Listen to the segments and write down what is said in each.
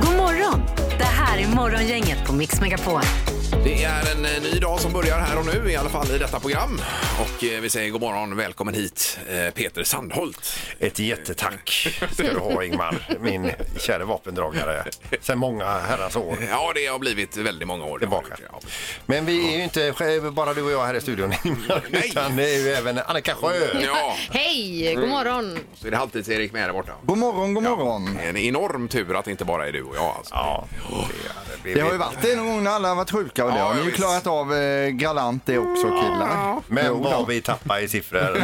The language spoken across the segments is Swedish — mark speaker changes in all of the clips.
Speaker 1: God morgon! Det här är Morgongänget på Mix Megapol.
Speaker 2: Det är en eh, ny dag som börjar här och nu, i alla fall i detta program. Och eh, vi säger god morgon, välkommen hit eh, Peter Sandholt.
Speaker 3: Ett jättetack ska du ha Ingmar, min kära vapendragare. Sen många herrans år.
Speaker 2: Ja, det har blivit väldigt många år.
Speaker 3: Tillbaka.
Speaker 2: Ja.
Speaker 3: Men vi är ju inte själv- bara du och jag här i studion Ingmar,
Speaker 2: Nej.
Speaker 3: utan det är ju även Annika Sjö.
Speaker 2: Ja,
Speaker 4: Hej, god morgon.
Speaker 2: så är det Halvtids-Erik med där borta.
Speaker 5: God morgon, god morgon.
Speaker 2: En enorm tur att det inte bara är du och jag. Alltså.
Speaker 3: Ja, det är,
Speaker 5: Det har ju varit det någon gång när alla har varit sjuka och det
Speaker 2: Ja,
Speaker 5: har ni ju
Speaker 2: visst.
Speaker 5: klarat av eh, galant det också killar.
Speaker 3: Men vad vi tappar i siffror.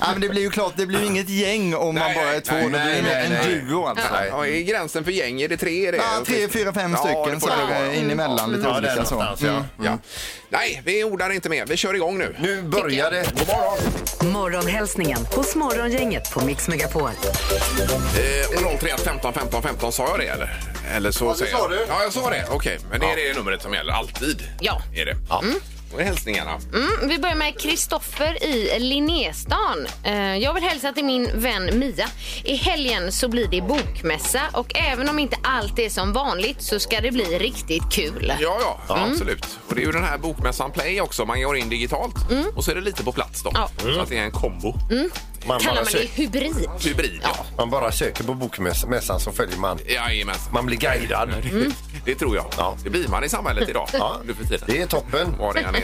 Speaker 5: Ja, men det blir ju klart, det blir ju inget gäng om man
Speaker 2: Nej,
Speaker 5: bara är
Speaker 2: nej,
Speaker 5: två.
Speaker 2: nej,
Speaker 5: det blir ju
Speaker 3: nej,
Speaker 5: en
Speaker 3: nej.
Speaker 5: duo alltså.
Speaker 3: Nej.
Speaker 2: Ja, är gränsen för gäng, är det tre? Är det?
Speaker 5: Ja, tre, fyra, fem
Speaker 2: Ja, det
Speaker 5: stycken
Speaker 2: får
Speaker 5: så
Speaker 2: det
Speaker 5: här,
Speaker 2: vara.
Speaker 5: eh, in emellan lite
Speaker 3: Ja, där
Speaker 5: olika så.
Speaker 3: någonstans, ja.
Speaker 5: Mm.
Speaker 2: Ja. Nej, vi ordar inte mer. Vi kör igång nu.
Speaker 3: Nu börjar det.
Speaker 2: God morgon!
Speaker 1: Morgonhälsningen hos Morgongänget på Mix Megapol.
Speaker 2: Eh, och 031 15 15 15, sa jag det eller? Eller så ja, säger
Speaker 3: sa
Speaker 2: jag.
Speaker 3: du.
Speaker 2: Ja, jag sa det. Okej, men det är det numret som gäller alltid.
Speaker 4: Ja.
Speaker 2: Är det. Mm. Och hälsningarna.
Speaker 4: Mm, vi börjar med Kristoffer i Linnéstan. Eh, jag vill hälsa till min vän Mia. I helgen så blir det bokmässa och även om inte allt är som vanligt så ska det bli riktigt kul.
Speaker 2: Ja, ja, absolut. Och det är ju den här bokmässan Play också. Man går in digitalt och så är det lite på plats då.
Speaker 4: Mm. Ja. Mm.
Speaker 2: Så att det är en kombo.
Speaker 3: Man
Speaker 4: Kallar
Speaker 3: bara,
Speaker 4: man det
Speaker 3: söker,
Speaker 4: hybrid?
Speaker 2: Hybrid, ja.
Speaker 3: man bara söker på bokmässan så följer man.
Speaker 2: Jajamensan.
Speaker 3: Man blir guidad.
Speaker 4: Mm.
Speaker 2: Det tror jag.
Speaker 3: Ja.
Speaker 2: Det blir man i samhället idag.
Speaker 3: Ja,
Speaker 2: Nu för tiden.
Speaker 3: det är toppen.
Speaker 2: Vad det än är.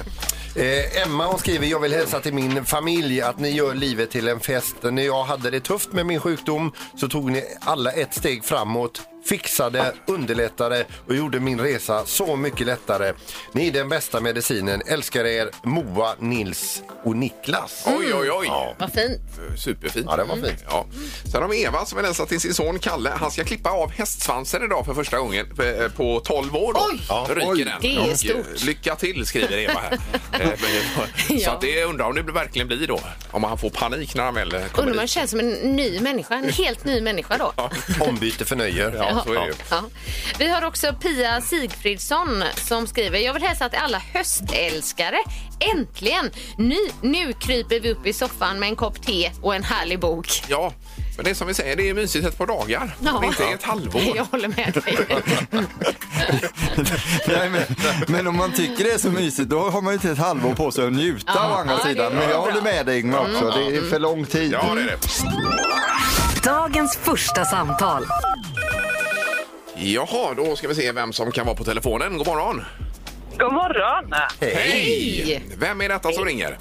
Speaker 3: Eh, Emma hon skriver, jag vill hälsa till min familj att ni gör livet till en fest. När jag hade det tufft med min sjukdom så tog ni alla ett steg framåt, fixade, underlättade och gjorde min resa så mycket lättare. Ni är den bästa medicinen. Älskar er Moa, Nils och Niklas.
Speaker 2: Oj, oj, oj.
Speaker 4: Vad fint.
Speaker 2: Mm. Superfint.
Speaker 3: Ja, det var fint.
Speaker 2: Ja. Sen har vi Eva som vill hälsa till sin son Kalle. Han ska klippa av hästsvansen idag för första gången på- på 12 år. Då.
Speaker 4: Oj!
Speaker 2: Ja, ryker
Speaker 5: Oj.
Speaker 2: den.
Speaker 4: Det är
Speaker 2: Och, eh,
Speaker 4: stort.
Speaker 2: Lycka till skriver Eva här. Eh, men- Så
Speaker 4: Ja.
Speaker 2: att det undrar om det verkligen blir då. Om han får panik när han väl kommer
Speaker 4: Undrar om man
Speaker 2: dit.
Speaker 4: känns som en ny människa, en helt ny människa då.
Speaker 3: Ombyte förnöjer.
Speaker 2: Ja, så är det ju.
Speaker 4: Ja. Vi har också Pia Sigfridsson som skriver Jag vill hälsa till alla höstälskare. Äntligen! Nu, nu kryper vi upp i soffan med en kopp te och en härlig bok.
Speaker 2: Ja, men det är som vi säger, det är mysigt ett par dagar.
Speaker 4: Ja.
Speaker 2: Men inte ett halvår.
Speaker 4: Jag håller med dig.
Speaker 5: Nej, men, men om man tycker det är så mysigt då har man ju till ett halvår på sig att njuta
Speaker 4: Ja,
Speaker 5: å andra
Speaker 4: ja, det
Speaker 5: sidan.
Speaker 4: är
Speaker 5: Men jag
Speaker 4: bra.
Speaker 5: håller med dig Ingmar också, det är för lång tid.
Speaker 2: Ja, det är det.
Speaker 1: Dagens första samtal.
Speaker 2: Jaha, då ska vi se vem som kan vara på telefonen. God morgon!
Speaker 6: God morgon!
Speaker 2: Hej! Vem är detta som ringer?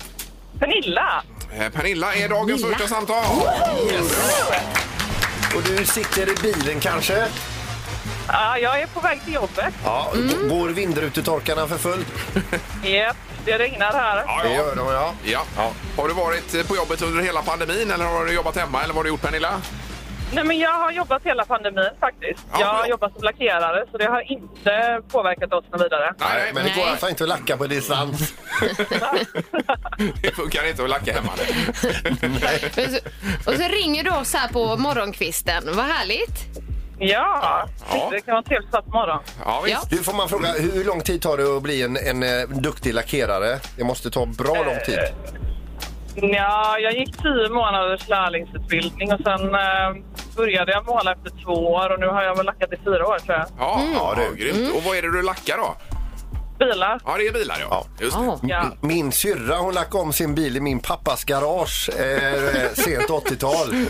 Speaker 6: Pernilla!
Speaker 2: Eh, Pernilla är dagens
Speaker 4: Pernilla.
Speaker 2: första samtal.
Speaker 3: Och du sitter i bilen kanske?
Speaker 6: Ja, jag är på väg till jobbet.
Speaker 3: Ja,
Speaker 4: Mm.
Speaker 3: Går vindrutetorkarna för fullt?
Speaker 6: Japp, det regnar här.
Speaker 3: Det gör de ja.
Speaker 2: Ja. Har du varit eh, på jobbet under hela pandemin eller har du jobbat hemma eller vad har du gjort Pernilla?
Speaker 6: Nej, men jag har jobbat hela pandemin faktiskt.
Speaker 2: Ja,
Speaker 6: jag har
Speaker 2: bra.
Speaker 6: jobbat som lackerare så det har inte påverkat oss något vidare.
Speaker 3: Nej, men det går
Speaker 4: Nej.
Speaker 3: alltså inte att lacka på distans.
Speaker 2: Det funkar inte att lacka hemma.
Speaker 4: Och så, och så ringer du oss här på morgonkvisten. Vad härligt.
Speaker 6: Ja, typ,
Speaker 2: Ja.
Speaker 6: det kan vara trevligt satt morgon.
Speaker 2: Ja, visst.
Speaker 4: Ja.
Speaker 3: Du får man fråga, hur lång tid tar det att bli en, en eh, duktig lackerare? Det måste ta bra lång tid.
Speaker 6: Ja, jag gick tio månaders lärlingsutbildning och sen eh, började jag måla efter två år och nu har jag väl lackat i fyra år tror jag.
Speaker 2: Ja, ja, det är grymt. Och vad är det du lackar då?
Speaker 6: Bilar.
Speaker 2: Ja, det är bilar ja.
Speaker 3: Ja.
Speaker 2: Just det.
Speaker 4: Ja.
Speaker 6: Ja.
Speaker 3: Min syrra hon lackade om sin bil i min pappas garage eh, sent 80-tal.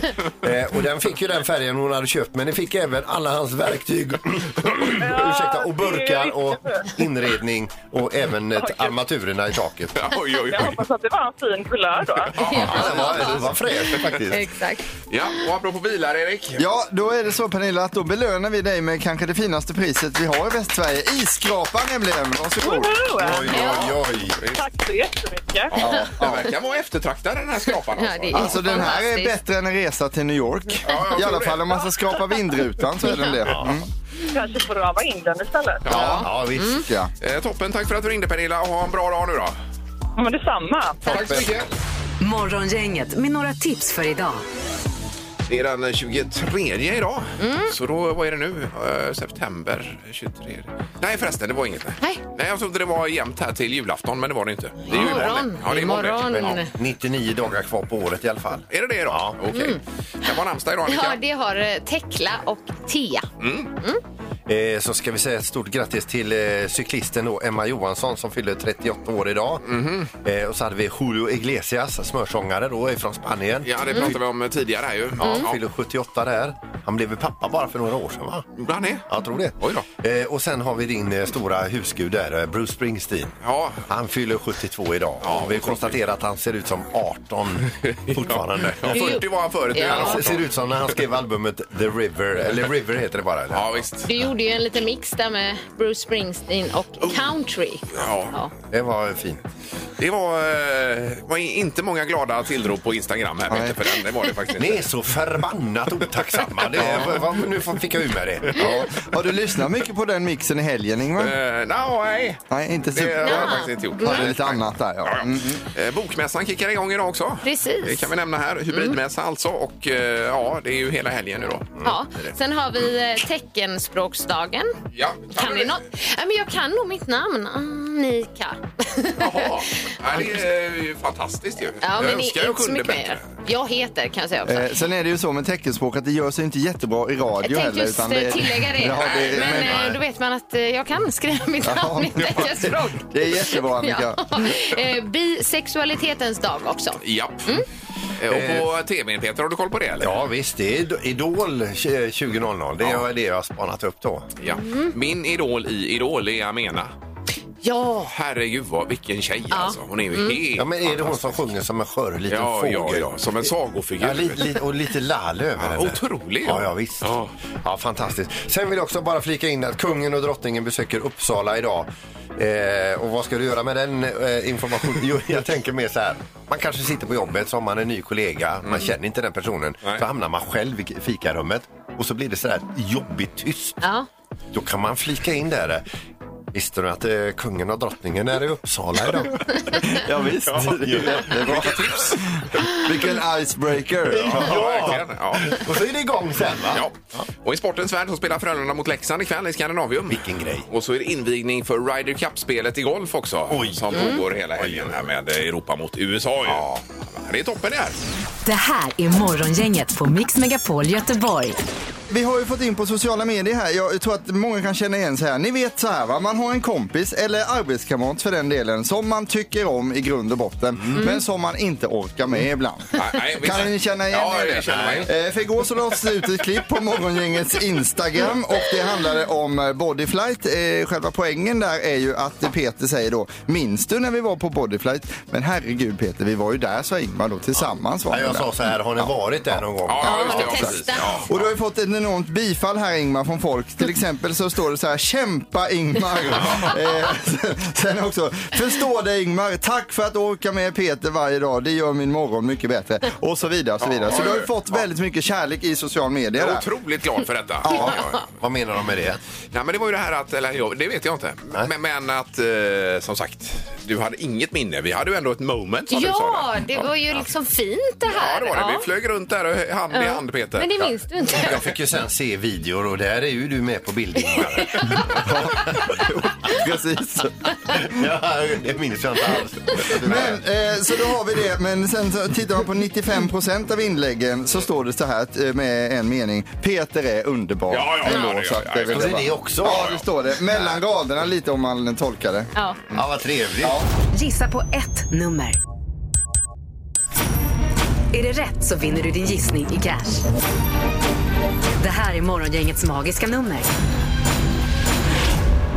Speaker 3: Eh, och den fick ju den färgen hon hade köpt men den fick även alla hans verktyg ursäkta, och burkar och inredning och även eh, armaturerna i taket.
Speaker 2: Ja, oj, oj,
Speaker 6: Jag
Speaker 2: oj.
Speaker 6: hoppas att det var en fin kulör då.
Speaker 3: Ja, det var, det var fräscht faktiskt.
Speaker 4: Exakt.
Speaker 2: Ja, och apropå bilar Erik.
Speaker 5: Ja, då är det så Pernilla att då belönar vi dig med kanske det finaste priset vi har i Västsverige. Isskrapan nämligen. Och
Speaker 2: Varsågod.
Speaker 3: Oj, oj, oj.
Speaker 6: Tack så jättemycket.
Speaker 2: Ja, det verkar vara eftertraktad den här skrapan.
Speaker 4: Ja, det
Speaker 2: Alltså.
Speaker 4: är
Speaker 5: Alltså den här är
Speaker 4: fantastiskt.
Speaker 5: bättre än en resa till New York.
Speaker 2: jag tror
Speaker 5: I alla
Speaker 2: det.
Speaker 5: fall om man ska skrapa vindrutan så är den det. Mm.
Speaker 6: Kanske får rama in den istället.
Speaker 2: Ja.
Speaker 3: Ja, visst.
Speaker 5: Ja.
Speaker 2: Eh, toppen, tack för att du ringde Pernilla och ha en bra dag nu då.
Speaker 6: Men detsamma.
Speaker 2: Tack så mycket.
Speaker 1: Morgongänget med några tips för idag.
Speaker 2: Det är den 23 idag.
Speaker 4: Mm.
Speaker 2: Så då, vad är det nu? Eh, september 23. Nej förresten, det var inget.
Speaker 4: Nej.
Speaker 2: Nej, jag trodde det var jämnt här till julafton, men det var det inte. Det är ju
Speaker 4: Imorgon.
Speaker 2: Ja, det är imorgon. det.
Speaker 4: Imorgon.
Speaker 2: Ja.
Speaker 3: 99 dagar kvar på året i alla fall.
Speaker 2: Är det det då? Mm. Ja. Okej. Kan vara namnsdag idag,
Speaker 4: Ja,
Speaker 2: Annika.
Speaker 4: det har eh, Tekla och Tia.
Speaker 3: Eh, så ska vi säga ett stort grattis till eh, cyklisten då, Emma Johansson som fyller 38 år idag.
Speaker 2: Mhm.
Speaker 3: Eh, och så hade vi Julio Iglesias, smörsångare då ifrån Spanien.
Speaker 2: Ja, det pratade vi
Speaker 4: Mm.
Speaker 2: om tidigare här ju. Ja,
Speaker 3: Han
Speaker 2: ja.
Speaker 3: fyller 78 där. Han blev väl pappa bara för några år sedan va?
Speaker 2: Bland det?
Speaker 3: Jag tror det.
Speaker 2: Oj då.
Speaker 3: Eh, och sen har vi din eh, stora husgud där, eh, Bruce Springsteen.
Speaker 2: Ja.
Speaker 3: Han fyller 72 idag.
Speaker 2: Ja,
Speaker 3: och vi konstaterar att han ser ut som 18 fortfarande.
Speaker 2: Ja, 40 var han förut. nu är han
Speaker 4: Ja.
Speaker 3: Han ser
Speaker 2: 18.
Speaker 3: ut som när han skrev albumet The River, eller River heter det bara. Eller?
Speaker 2: Ja, visst.
Speaker 4: Du gjorde ju en liten mix där med Bruce Springsteen och country.
Speaker 2: Oh. Ja.
Speaker 3: Det var fint.
Speaker 2: Det var, eh, var inte många glada tillrop på Instagram här, Peter, för den. Det var det faktiskt
Speaker 3: Ni
Speaker 2: inte.
Speaker 3: är så förbannat otacksamma. Det är, vad- nu får- fick jag ur mig det.
Speaker 5: Ja. Har du lyssnat mycket på den mixen i helgen Ingvar?
Speaker 2: Eh, nej,
Speaker 5: Nej, inte
Speaker 2: det
Speaker 5: super.
Speaker 2: har jag
Speaker 4: Ja.
Speaker 2: faktiskt inte gjort.
Speaker 5: Hade lite annat där ja.
Speaker 2: Ja, ja.
Speaker 5: Mm.
Speaker 2: Eh, Bokmässan kickar igång idag också.
Speaker 4: Precis. Mm.
Speaker 2: Det kan vi nämna här. Hybridmässa alltså. Och eh, ja, det är ju hela helgen nu då. Mm.
Speaker 4: Ja. Sen har vi eh, teckenspråksdagen.
Speaker 2: Ja,
Speaker 4: Kan
Speaker 2: du
Speaker 4: ni
Speaker 2: det?
Speaker 4: något? Ja, men jag kan nog mitt namn. Ah, Annika.
Speaker 2: Jaha. Ja, det är ju fantastiskt ju.
Speaker 4: Ja,
Speaker 2: jag
Speaker 4: men
Speaker 2: önskar
Speaker 4: inte
Speaker 2: jag
Speaker 4: så
Speaker 2: kunde
Speaker 4: mycket
Speaker 2: bättre.
Speaker 4: mer. Jag heter kan jag säga också.
Speaker 5: Eh, sen är det ju så med teckenspråk att det gör sig inte jättebra i radio
Speaker 4: Jag tänkte
Speaker 5: heller.
Speaker 4: just eh, tillägga det.
Speaker 5: Ja, det
Speaker 4: men
Speaker 5: men,
Speaker 4: eh, då vet man att eh, jag kan skriva mitt namn i teckenspråk.
Speaker 5: det är jättebra Annika.
Speaker 4: Ja. Eh, Bisexualitetens dag också.
Speaker 2: Japp.
Speaker 4: Mm.
Speaker 2: Eh, Och på tvn, Peter, har du koll på det? Eller?
Speaker 3: Ja visst, det är Id- Idol tj- 2000. Det är det jag har spanat upp då.
Speaker 2: Ja.
Speaker 4: Mm.
Speaker 2: Min idol i Idol är Amena.
Speaker 4: Ja. Mm.
Speaker 2: Herregud, vad, vilken tjej alltså. Hon är ju helt...
Speaker 3: Ja, men är det hon som sjunger som en skör liten
Speaker 2: ja,
Speaker 3: fågel?
Speaker 2: ja, ja, som en sagofigur.
Speaker 3: Ja, lite, lite, och lite lall över henne.
Speaker 2: otrolig.
Speaker 3: Ja, ja visst.
Speaker 2: Ja.
Speaker 3: Ja. fantastiskt. Sen vill jag också bara flika in att kungen och drottningen besöker Uppsala idag. Eh, och vad ska du göra med den eh, informationen? Jo, jag tänker mer så här. Man kanske sitter på jobbet, så har man en ny kollega, man känner inte den personen.
Speaker 2: Nej.
Speaker 3: Så hamnar man själv i fikarummet och så blir det så där jobbigt tyst.
Speaker 4: Ja.
Speaker 3: Då kan man flika in där. Visste du att eh, kungen och drottningen är i Uppsala idag?
Speaker 5: Ja, visst. det är jättebra.
Speaker 2: Tips!
Speaker 5: Vilken icebreaker.
Speaker 2: Ja, verkligen. Ja.
Speaker 3: och så är det igång sen va?
Speaker 2: Ja. Och i sportens värld så spelar Frölunda mot Leksand ikväll i Skandinavium.
Speaker 3: Vilken grej.
Speaker 2: Och så är det invigning för Ryder Cup-spelet i golf också.
Speaker 3: Oj. Mm.
Speaker 2: Som pågår hela helgen här med Europa mot USA ju. Ja. Det är toppen det här.
Speaker 1: Det här är Morgongänget på Mix Megapol Göteborg.
Speaker 5: Vi har ju fått in på sociala medier här, jag tror att många kan känna igen sig här. Ni vet så här va, man har en kompis eller arbetskamrat för den delen som man tycker om i grund och botten men som man inte orkar med ibland.
Speaker 2: Mm. Nej, nej, visst.
Speaker 5: kan ni känna igen
Speaker 2: Ja,
Speaker 5: er i
Speaker 2: jag känner mig.
Speaker 5: Eh, För igår så lades det ut ett klipp på Morgongängets Instagram och det handlade om eh, Bodyflight. Eh, Själva poängen där är ju att eh, Peter säger då, minns du när vi var på Bodyflight? Men herregud Peter, vi var ju där sa Ingmar då tillsammans. Var
Speaker 3: Ja,
Speaker 5: vi
Speaker 3: jag
Speaker 5: där.
Speaker 3: sa så här, har ni varit där någon gång?
Speaker 2: Ja, just
Speaker 4: Ja,
Speaker 2: det. Ja,
Speaker 4: testa.
Speaker 2: precis. Ja.
Speaker 5: Och du har ju fått ett enormt bifall här Ingmar från folk. Till exempel så står det så här, kämpa Ingmar. eh, sen- sen också, förstå dig Ingmar, tack för att du orkar med Peter varje dag. Det gör min morgon mycket bättre. Och så vidare och så vidare. Så du har ju fått väldigt mycket kärlek i social media
Speaker 2: Jag är
Speaker 5: där.
Speaker 2: otroligt glad för detta.
Speaker 3: Ja, Vad menar de med det?
Speaker 2: Nej, men det var ju det här att, eller jo, det vet jag inte. Men, men att, eh, som sagt, du hade inget minne. Vi hade ju ändå ett moment som du sa.
Speaker 4: Ja,
Speaker 2: där.
Speaker 4: det var ju liksom fint det
Speaker 2: Ja,
Speaker 4: här.
Speaker 2: det var det. Vi flög runt där och hand i hand, Peter.
Speaker 4: Men det minns du inte.
Speaker 3: Jag fick ju sen se videor och där är ju du med på bild Ingmar.
Speaker 5: Precis.
Speaker 3: ja, Det minns jag inte alls.
Speaker 5: Men, eh, så då har vi det. Men sen så tittar man på 95 av inläggen så står det så här eh, med en mening. Peter är underbar.
Speaker 2: Ja, ja, ja,
Speaker 5: Ändå,
Speaker 2: det gör
Speaker 5: så att
Speaker 2: jag.
Speaker 5: det är väl
Speaker 3: Så det är
Speaker 5: va?
Speaker 3: det också?
Speaker 5: Ja, det står det. Mellan raderna lite om man tolkar det.
Speaker 4: Ja.
Speaker 3: Ja, vad trevligt.
Speaker 1: Gissa på ett nummer. Är det rätt så vinner du din gissning i cash. Det här är Morgongängets magiska nummer.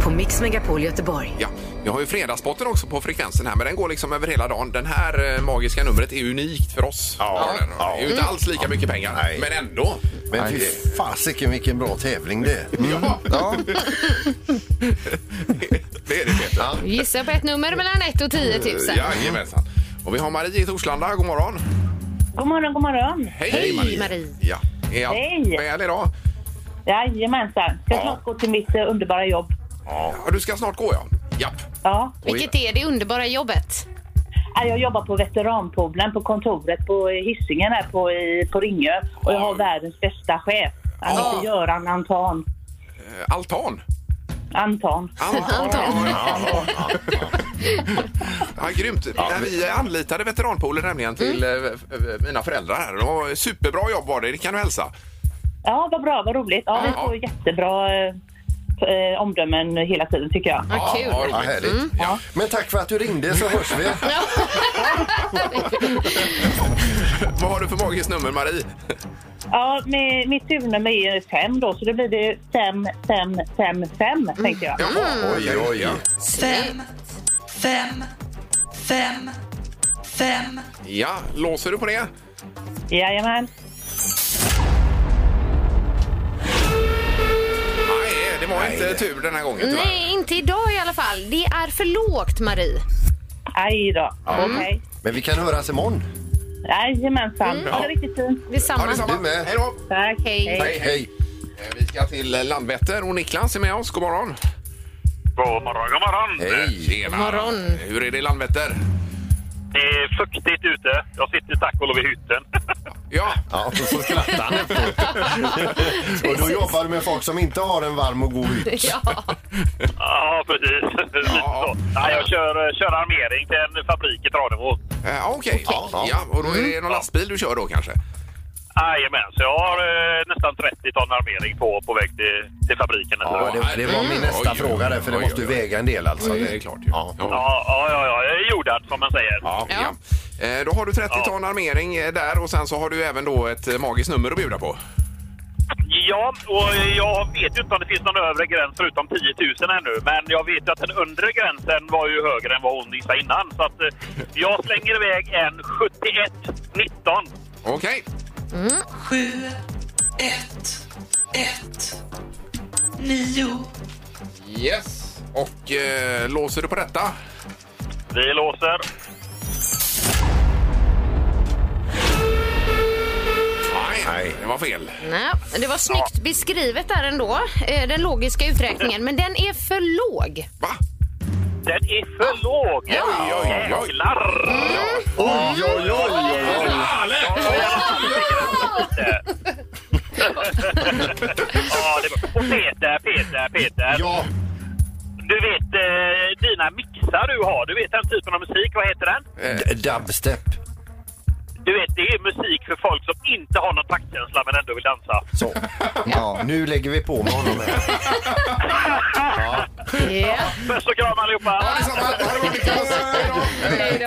Speaker 1: På Mix Megapol Göteborg.
Speaker 2: Ja, vi har ju fredagspotten också på frekvensen här, men den går liksom över hela dagen. Den här eh, magiska numret är unikt för oss. Ja, den. Det är ju inte alls lika mycket pengar,
Speaker 3: Nej.
Speaker 2: men ändå.
Speaker 3: Men fy fasiken Mm. vilken bra tävling det är.
Speaker 2: Ja,
Speaker 5: Ja,
Speaker 2: det är det Peter.
Speaker 3: Ja.
Speaker 4: Gissa på ett nummer mellan 1 och 10 000.
Speaker 2: Jajamensan. Och vi har Marie i Torslanda. God morgon.
Speaker 7: God morgon, god morgon.
Speaker 2: Hej,
Speaker 4: Hej, Marie.
Speaker 2: Ja. Är allt
Speaker 7: Hej.
Speaker 2: väl idag?
Speaker 7: Jajamensan. Ska
Speaker 2: Ja.
Speaker 7: snart gå till mitt eh, underbara jobb.
Speaker 2: Ja. Du ska snart gå, ja. Japp.
Speaker 7: Ja.
Speaker 4: Vilket är det underbara jobbet?
Speaker 7: Ja, Jag jobbar på veteranpoolen på kontoret på eh, Hisingen här på, i- på Ringö. Och jag har
Speaker 2: Ja.
Speaker 7: världens bästa chef. Han
Speaker 2: Ja.
Speaker 7: heter Göran Anton.
Speaker 2: Eh, Altan.
Speaker 7: Anton.
Speaker 2: Anton. Ja, ja, ja, ja. Ja, grymt. När vi anlitade veteranpoolen nämligen till
Speaker 4: Mm.
Speaker 2: eh, f- eh, mina föräldrar här. Det var superbra jobb var det, det kan du hälsa.
Speaker 7: Ja, vad bra, vad roligt. Ja, vi
Speaker 2: Ja.
Speaker 7: får jättebra eh, eh, omdömen hela tiden tycker jag.
Speaker 4: Vad
Speaker 2: Ja, vad
Speaker 4: kul.
Speaker 3: Ja,
Speaker 2: roligt.
Speaker 3: härligt.
Speaker 2: Mm. Ja.
Speaker 3: Men tack för att du ringde så hörs vi.
Speaker 2: Vad har du för magiskt nummer, Marie?
Speaker 7: Ja, med, mitt huvudnummer är ju fem då, så det blir det fem, fem, fem, fem tänkte jag.
Speaker 4: Mm.
Speaker 2: Jaha, oj, oj, oj.
Speaker 8: Fem, fem, fem, fem.
Speaker 2: Ja, låser du på det?
Speaker 7: Jajamän.
Speaker 2: Nej, det var inte tur den här gången tyvärr.
Speaker 4: Nej, inte idag i alla fall. Det är för lågt, Marie.
Speaker 7: Aj då. Okej.
Speaker 3: Men vi kan höras imorgon.
Speaker 7: Jajamensan. Ha det riktigt fint.
Speaker 2: Ja,
Speaker 4: Detsamma.
Speaker 2: detsamma.
Speaker 3: Du med.
Speaker 2: Hej då!
Speaker 7: Tack.
Speaker 4: Hej.
Speaker 2: Hej, hej. Eh, Vi ska till eh, Landvetter och Niklas är med oss. God morgon!
Speaker 6: God morgon, god morgon.
Speaker 2: Hej! Tjena!
Speaker 4: God morgon.
Speaker 2: Hur är det i Landvetter?
Speaker 6: Det är fuktigt ute. Jag sitter tack och lov i hytten.
Speaker 2: Ja,
Speaker 3: Ja, och så skrattar han efteråt. Och då jobbar du med folk som inte har en varm och god hytt.
Speaker 4: Ja,
Speaker 6: Ja, precis. Lite så. Nej, jag kör, eh, kör armering till en fabrik i Tranemo.
Speaker 2: eh, ah, okej. Ja, ja, och då är det någon lastbil du kör då kanske?
Speaker 6: Jajamän, så jag har eh, nästan 30 ton armering på, på väg till, till fabriken.
Speaker 3: Ja,
Speaker 6: ja,
Speaker 3: det, det var min
Speaker 2: Mm.
Speaker 3: nästa
Speaker 2: Oj, oj,
Speaker 3: fråga där, för det
Speaker 2: oj,
Speaker 3: måste
Speaker 2: oj,
Speaker 3: ju
Speaker 2: oj.
Speaker 3: väga en del alltså.
Speaker 2: Ja, det är klart ju.
Speaker 3: Ja.
Speaker 2: Ja.
Speaker 6: ja, ja, ja, jag är jordad som man säger.
Speaker 2: Ja, ja. Eh, Då har du 30
Speaker 6: Ja.
Speaker 2: ton armering eh, där och sen så har du även då ett eh, magiskt nummer att bjuda på.
Speaker 6: Ja, och jag vet ju inte om det finns någon övre gräns förutom 10 000 ännu. Men jag vet ju att den undre gränsen var ju högre än vad hon gissade innan. Så att eh, jag slänger iväg en 71 19.
Speaker 2: Okej,
Speaker 8: Sju, ett, ett. Nio,
Speaker 2: yes. Och eh, låser du på detta?
Speaker 6: Vi låser.
Speaker 2: Nej,
Speaker 3: Nej.
Speaker 2: det var fel.
Speaker 4: nej, det var snyggt beskrivet där ändå, eh, den logiska uträkningen. Men den är för låg.
Speaker 2: Va?
Speaker 6: Den är för låg!
Speaker 2: Oj, oj, oj.
Speaker 6: Jävlar!
Speaker 5: Oj, oj, oj, oj, oj.
Speaker 6: Ja, det var... Och Peter, Peter, Peter.
Speaker 3: Ja,
Speaker 6: Du vet eh, dina mixar du har, du vet den typen av musik, vad heter den?
Speaker 3: d- eh, dubstep.
Speaker 6: Du vet, det är musik för folk som inte har någon taktkänsla men ändå vill dansa.
Speaker 3: Så. Ja, nu lägger vi på med honom här.
Speaker 4: Ja.
Speaker 6: Puss och kram allihopa!
Speaker 2: Ja, detsamma. Ha det bra, Niklas. Hej då.
Speaker 4: Hej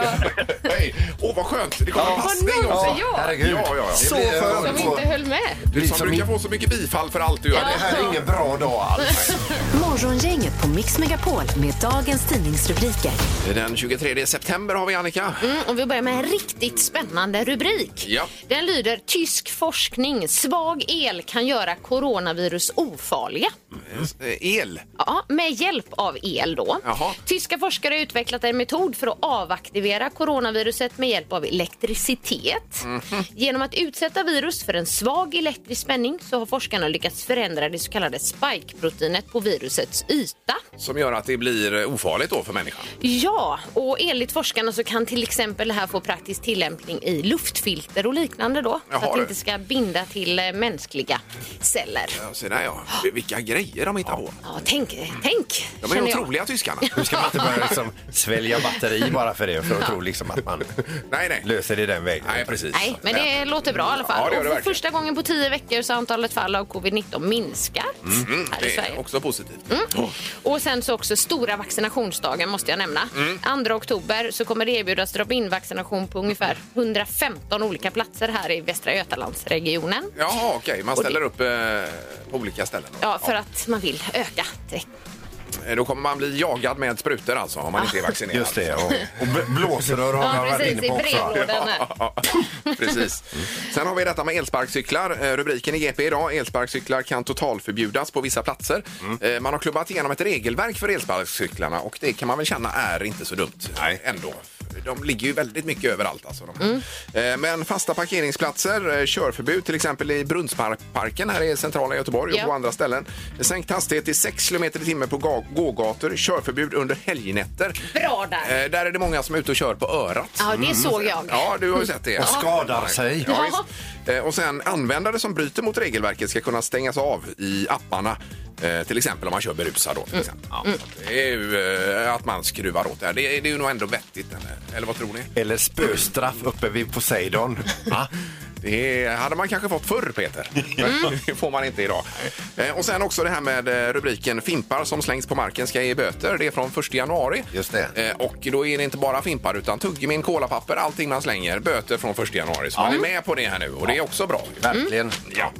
Speaker 4: då.
Speaker 2: Hej! Åh, vad skönt! Det kom en passning
Speaker 4: någon
Speaker 2: också.
Speaker 4: som- Ja.
Speaker 3: Herregud.
Speaker 2: Ja, ja, ja.
Speaker 3: Det
Speaker 5: Så
Speaker 3: blir-
Speaker 5: skönt.
Speaker 4: Som inte höll med.
Speaker 2: Du som
Speaker 3: Liksom
Speaker 2: brukar
Speaker 3: i-
Speaker 2: få så mycket bifall för allt du gör.
Speaker 3: Det här är ingen bra dag alls.
Speaker 1: Morgongänget på Mix Megapol med dagens tidningsrubriker.
Speaker 2: Den 23 september har vi Annika.
Speaker 4: Mm, och vi börjar med en riktigt spännande rubrik.
Speaker 2: Ja.
Speaker 4: Den lyder Tysk forskning. Svag el kan göra coronavirus Oh, ofarliga.
Speaker 2: Eh, El.
Speaker 4: Ja, med hjälp av el då.
Speaker 2: Jaha.
Speaker 4: Tyska forskare har utvecklat en metod för att avaktivera coronaviruset med hjälp av elektricitet. Genom att utsätta virus för en svag elektrisk spänning så har forskarna lyckats förändra det så kallade spike-proteinet på virusets yta.
Speaker 2: Som gör att det blir eh, ofarligt då för människan.
Speaker 4: Ja, och enligt forskarna så kan till exempel det här få praktisk tillämpning i luftfilter och liknande då.
Speaker 2: Jaha,
Speaker 4: så att
Speaker 2: du.
Speaker 4: det inte ska binda till eh, mänskliga celler.
Speaker 2: Ja, Se där ja. Vilka grejer de hittar på.
Speaker 4: Ja, tänk, tänk,
Speaker 2: De är
Speaker 4: känner jag.
Speaker 2: otroliga tyskarna.
Speaker 3: Nu ska man inte börja liksom svälja batteri bara för det, för att tro liksom att man
Speaker 2: Nej, nej.
Speaker 3: löser det den vägen.
Speaker 2: Nej, precis.
Speaker 4: Nej, men det låter bra i alla fall.
Speaker 2: Ja, det gör det
Speaker 4: och för
Speaker 2: verkligen.
Speaker 4: första gången på tio veckor så har antalet fall av covid-19 minskat här i
Speaker 2: Mm, Det
Speaker 4: Sverige. Mm.
Speaker 2: är också positivt. Oh,
Speaker 4: Och sen så också stora vaccinationsdagen måste jag nämna.
Speaker 3: Mm.
Speaker 4: 2 oktober så kommer det erbjudas drop-in vaccination på ungefär 115 olika platser här i Västra Götalandsregionen.
Speaker 2: Jaha, okej. Man
Speaker 4: Och det-
Speaker 2: ställer upp eh, på olika ställen. då.
Speaker 4: Ja, för att man vill öka
Speaker 2: Eh, Då kommer man bli jagad med sprutor alltså om man inte är vaccinerad.
Speaker 3: Just det, och, och bl- blåsrör har
Speaker 4: Ja,
Speaker 3: man varit
Speaker 4: precis,
Speaker 3: inne på
Speaker 4: i
Speaker 3: också.
Speaker 4: brevlådan där.
Speaker 2: Ja, precis. Sen har vi detta med elsparkcyklar. Eh, Rubriken i GP idag, elsparkcyklar kan totalförbjudas på vissa platser. Eh, Man har klubbat igenom ett regelverk för elsparkcyklarna och det kan man väl känna är inte så dumt Nej. ändå. De ligger ju väldigt mycket överallt. Alltså, de.
Speaker 4: Mm.
Speaker 2: Eh, Men fasta parkeringsplatser, eh, körförbud till exempel i Brunnsparken här i centrala Göteborg
Speaker 4: Ja.
Speaker 2: och på andra ställen. Sänkt hastighet till 6 km i timmen på ga- gågator, körförbud under helgnätter.
Speaker 4: Bra där.
Speaker 2: Eh, Där är det många som är ute och kör på örat.
Speaker 4: Ja,
Speaker 3: Mm.
Speaker 4: det såg jag.
Speaker 2: Ja, du har ju sett det.
Speaker 3: Och skadar sig.
Speaker 2: Ja, visst. Eh, Och sen användare som bryter mot regelverket ska kunna stängas av i apparna. Eh, till exempel om man kör berusad. Då, till exempel. Ja, så att det är ju eh, att man skruvar åt det här. Det är, det är ju nog ändå vettigt. Eller, eller vad tror ni?
Speaker 3: Eller spöstraff uppe vid Poseidon.
Speaker 2: Ja, Det hade man kanske fått förr, Peter. Men det får man inte idag. Eh, Och sen också det här med eh, rubriken fimpar som slängs på marken ska ge böter. Det är från 1 januari.
Speaker 3: Just det.
Speaker 2: Eh, Och då är det inte bara fimpar utan tuggummin, kolapapper, allting man slänger. Böter från 1 januari. Så man är med på det här nu och det är också bra.
Speaker 4: Mm.
Speaker 3: Verkligen.
Speaker 2: Ja.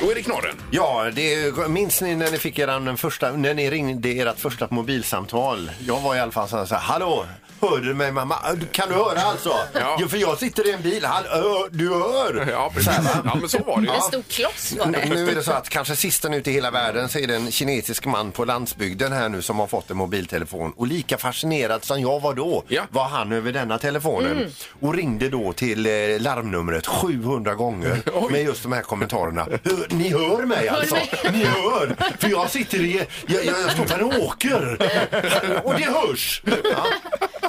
Speaker 2: Då är det knorren.
Speaker 3: Ja, det är, minns ni när ni fick eran den första, när ni ringde ert första mobilsamtal? Jag var i alla fall så här, så här hallå, hör du mig mamma? Äh, Kan du höra alltså?
Speaker 2: Ja.
Speaker 3: Jo, för jag sitter i en bil, Hall, ö, du hör!
Speaker 2: Ja,
Speaker 3: Så
Speaker 2: precis.
Speaker 3: här, va?
Speaker 2: Ja, men så var det ju.
Speaker 4: En stor kloss var det.
Speaker 3: Nu är det så att kanske sisten ut i hela världen så är det en kinesisk man på landsbygden här nu som har fått en mobiltelefon och lika fascinerad som jag var då
Speaker 2: Ja.
Speaker 3: var han över denna telefonen och ringde då till eh, larmnumret 700 gånger med just de här kommentarerna. Hör- Ni hör mig alltså, ni hör, för jag sitter i, jag, jag, jag står på en åker och det hörs. Ja.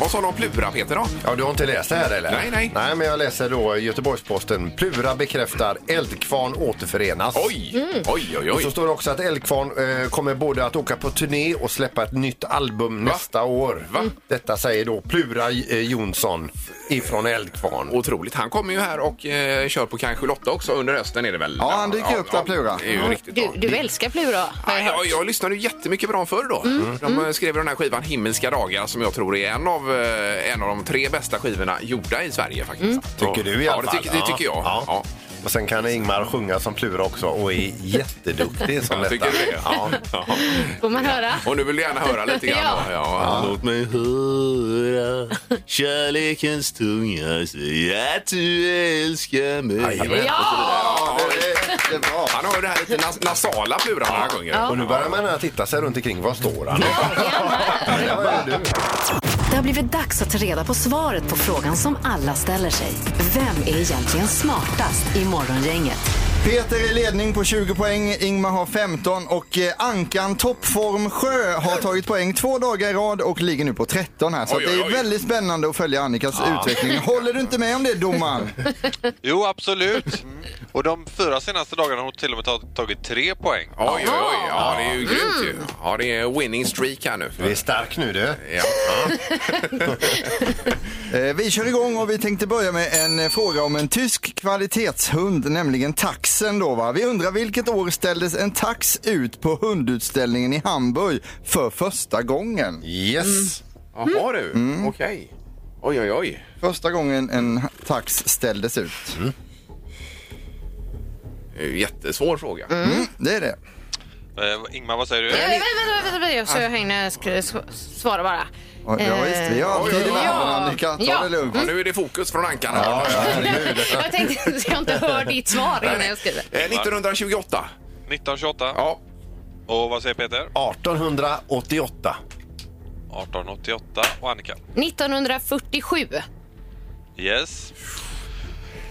Speaker 2: Vad sa de om Plura, Peter? Då?
Speaker 3: Ja, du har inte läst det här eller?
Speaker 2: Nej, nej.
Speaker 3: Nej, men jag läser då Göteborgsposten. Plura bekräftar eldkvarn återförenas.
Speaker 2: Oj,
Speaker 5: Mm.
Speaker 2: oj, oj,
Speaker 3: Och så
Speaker 2: oj.
Speaker 3: står det också att Eldkvarn eh, kommer både att åka på turné och släppa ett nytt album nästa år.
Speaker 2: Va?
Speaker 3: Detta säger då Plura eh, Jonsson ifrån Eldkvarn.
Speaker 2: Otroligt. Han kommer ju här och eh, kör på kanske Lotta också under hösten är det väl?
Speaker 5: Ja, han dyker upp där, Plura. Mm.
Speaker 2: Det är ju riktigt
Speaker 4: Du,
Speaker 2: bra.
Speaker 4: du älskar Plura, har jag
Speaker 2: Nej, jag,
Speaker 4: hört.
Speaker 2: jag lyssnade ju jättemycket på dem förr då. De eh, skrev ju den här skivan Himmelska dagar som jag tror är en av, eh, en av de tre bästa skivorna gjorda i Sverige faktiskt.
Speaker 3: Tycker du i alla
Speaker 2: ja, det
Speaker 3: fall?
Speaker 2: tycker, det tycker jag.
Speaker 3: Ja.
Speaker 2: Ja.
Speaker 3: Och sen kan Ingmar sjunga som Plura också och är jätteduktig som
Speaker 2: Jag
Speaker 3: detta.
Speaker 2: tycker det.
Speaker 3: Ja.
Speaker 2: Ja.
Speaker 4: Får man höra?
Speaker 2: Och nu vill du gärna höra lite grann.
Speaker 4: Ja.
Speaker 2: då. Ja.
Speaker 3: Låt mig höra kärlekens tunga säga att du älskar mig.
Speaker 4: Ja!
Speaker 2: Ja.
Speaker 5: det, det är bra.
Speaker 2: Han har ju det här lite nas- nasala Plura när han sjunger.
Speaker 3: Och nu börjar man titta sig runt omkring. Var står han? Ja, vad är du?
Speaker 1: Det har blivit dags att ta reda på svaret på frågan som alla ställer sig. Vem är egentligen smartast i Morgongänget?
Speaker 5: Peter är i ledning på 20 poäng, Ingmar har 15 och eh, Ankan Toppform Sjö har tagit poäng två dagar i rad och ligger nu på 13 här. Så
Speaker 2: Oj,
Speaker 5: det
Speaker 2: oj,
Speaker 5: är
Speaker 2: oj.
Speaker 5: väldigt spännande att följa Annikas utveckling. Håller du inte med om det domaren?
Speaker 8: Jo, absolut. Mm. Och de fyra senaste dagarna har hon till och med tag- tagit tre poäng.
Speaker 2: Oj, oj, oj. Ja, det är ju grymt
Speaker 3: Mm.
Speaker 2: ju. Ja, det är winning streak här nu.
Speaker 3: Du är stark nu du.
Speaker 2: Ja.
Speaker 5: Eh, Vi kör igång och vi tänkte börja med en eh, fråga om en tysk kvalitetshund, nämligen taxen då va. Vi undrar vilket år ställdes en tax ut på hundutställningen i Hamburg för första gången?
Speaker 3: Yes.
Speaker 2: Jaha du,
Speaker 3: Mm.
Speaker 2: okej. Oj, oj, oj.
Speaker 5: Första gången en tax ställdes ut.
Speaker 2: Det är ju en Jättesvår fråga.
Speaker 5: Mm, det är det.
Speaker 8: Eh, Ingmar, vad säger du?
Speaker 4: Vänta, vänta, vänta, vänta, så jag hinner sk- s- svara bara.
Speaker 5: Ja, ja visst, vi har
Speaker 2: Eh,
Speaker 5: tid i
Speaker 2: ja.
Speaker 5: världen Annika. Ta
Speaker 4: Ja.
Speaker 5: det lugnt.
Speaker 3: Mm.
Speaker 2: Ja, nu är det fokus från Ankan. här.
Speaker 4: jag tänkte att jag inte hör ditt svar innan jag skriver.
Speaker 2: Eh, 1928.
Speaker 8: 1928.
Speaker 2: Ja.
Speaker 8: Och vad säger Peter?
Speaker 3: 1888.
Speaker 8: 1888. Och Annika?
Speaker 4: 1947.
Speaker 8: Yes.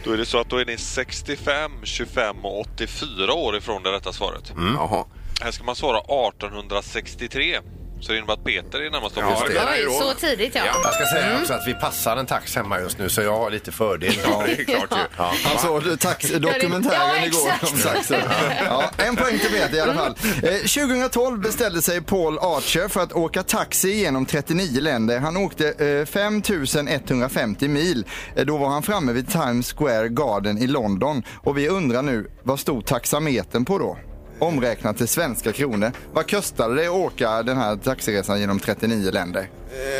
Speaker 8: Då är det så att då är ni 65, 25 och 84 år ifrån det rätta svaret.
Speaker 3: Mm.
Speaker 2: Jaha.
Speaker 8: Här ska man svara 1863. Så det innebär att Peter är närmast
Speaker 2: Ja,
Speaker 8: ja,
Speaker 2: det menar
Speaker 4: Oj,
Speaker 2: jag då.
Speaker 4: så tidigt ja.
Speaker 2: Ja.
Speaker 3: Jag ska säga också att vi passar en tax hemma just nu så jag har lite fördel.
Speaker 2: Det är klart ju. Ja.
Speaker 5: Han såg
Speaker 4: Ja,
Speaker 5: taxdokumentären Alltså, igår
Speaker 4: exakt.
Speaker 5: om saxen. Ja, en poäng till Peter i alla fall. Eh, 2012 beställde sig Paul Archer för att åka taxi genom 39 länder. Han åkte eh, 5 150 mil. Eh, Då var han framme vid Times Square Garden i London. Och vi undrar nu, vad stod taxametern på då? Omräknat till svenska kronor. Vad kostade det att åka den här taxiresan genom 39 länder?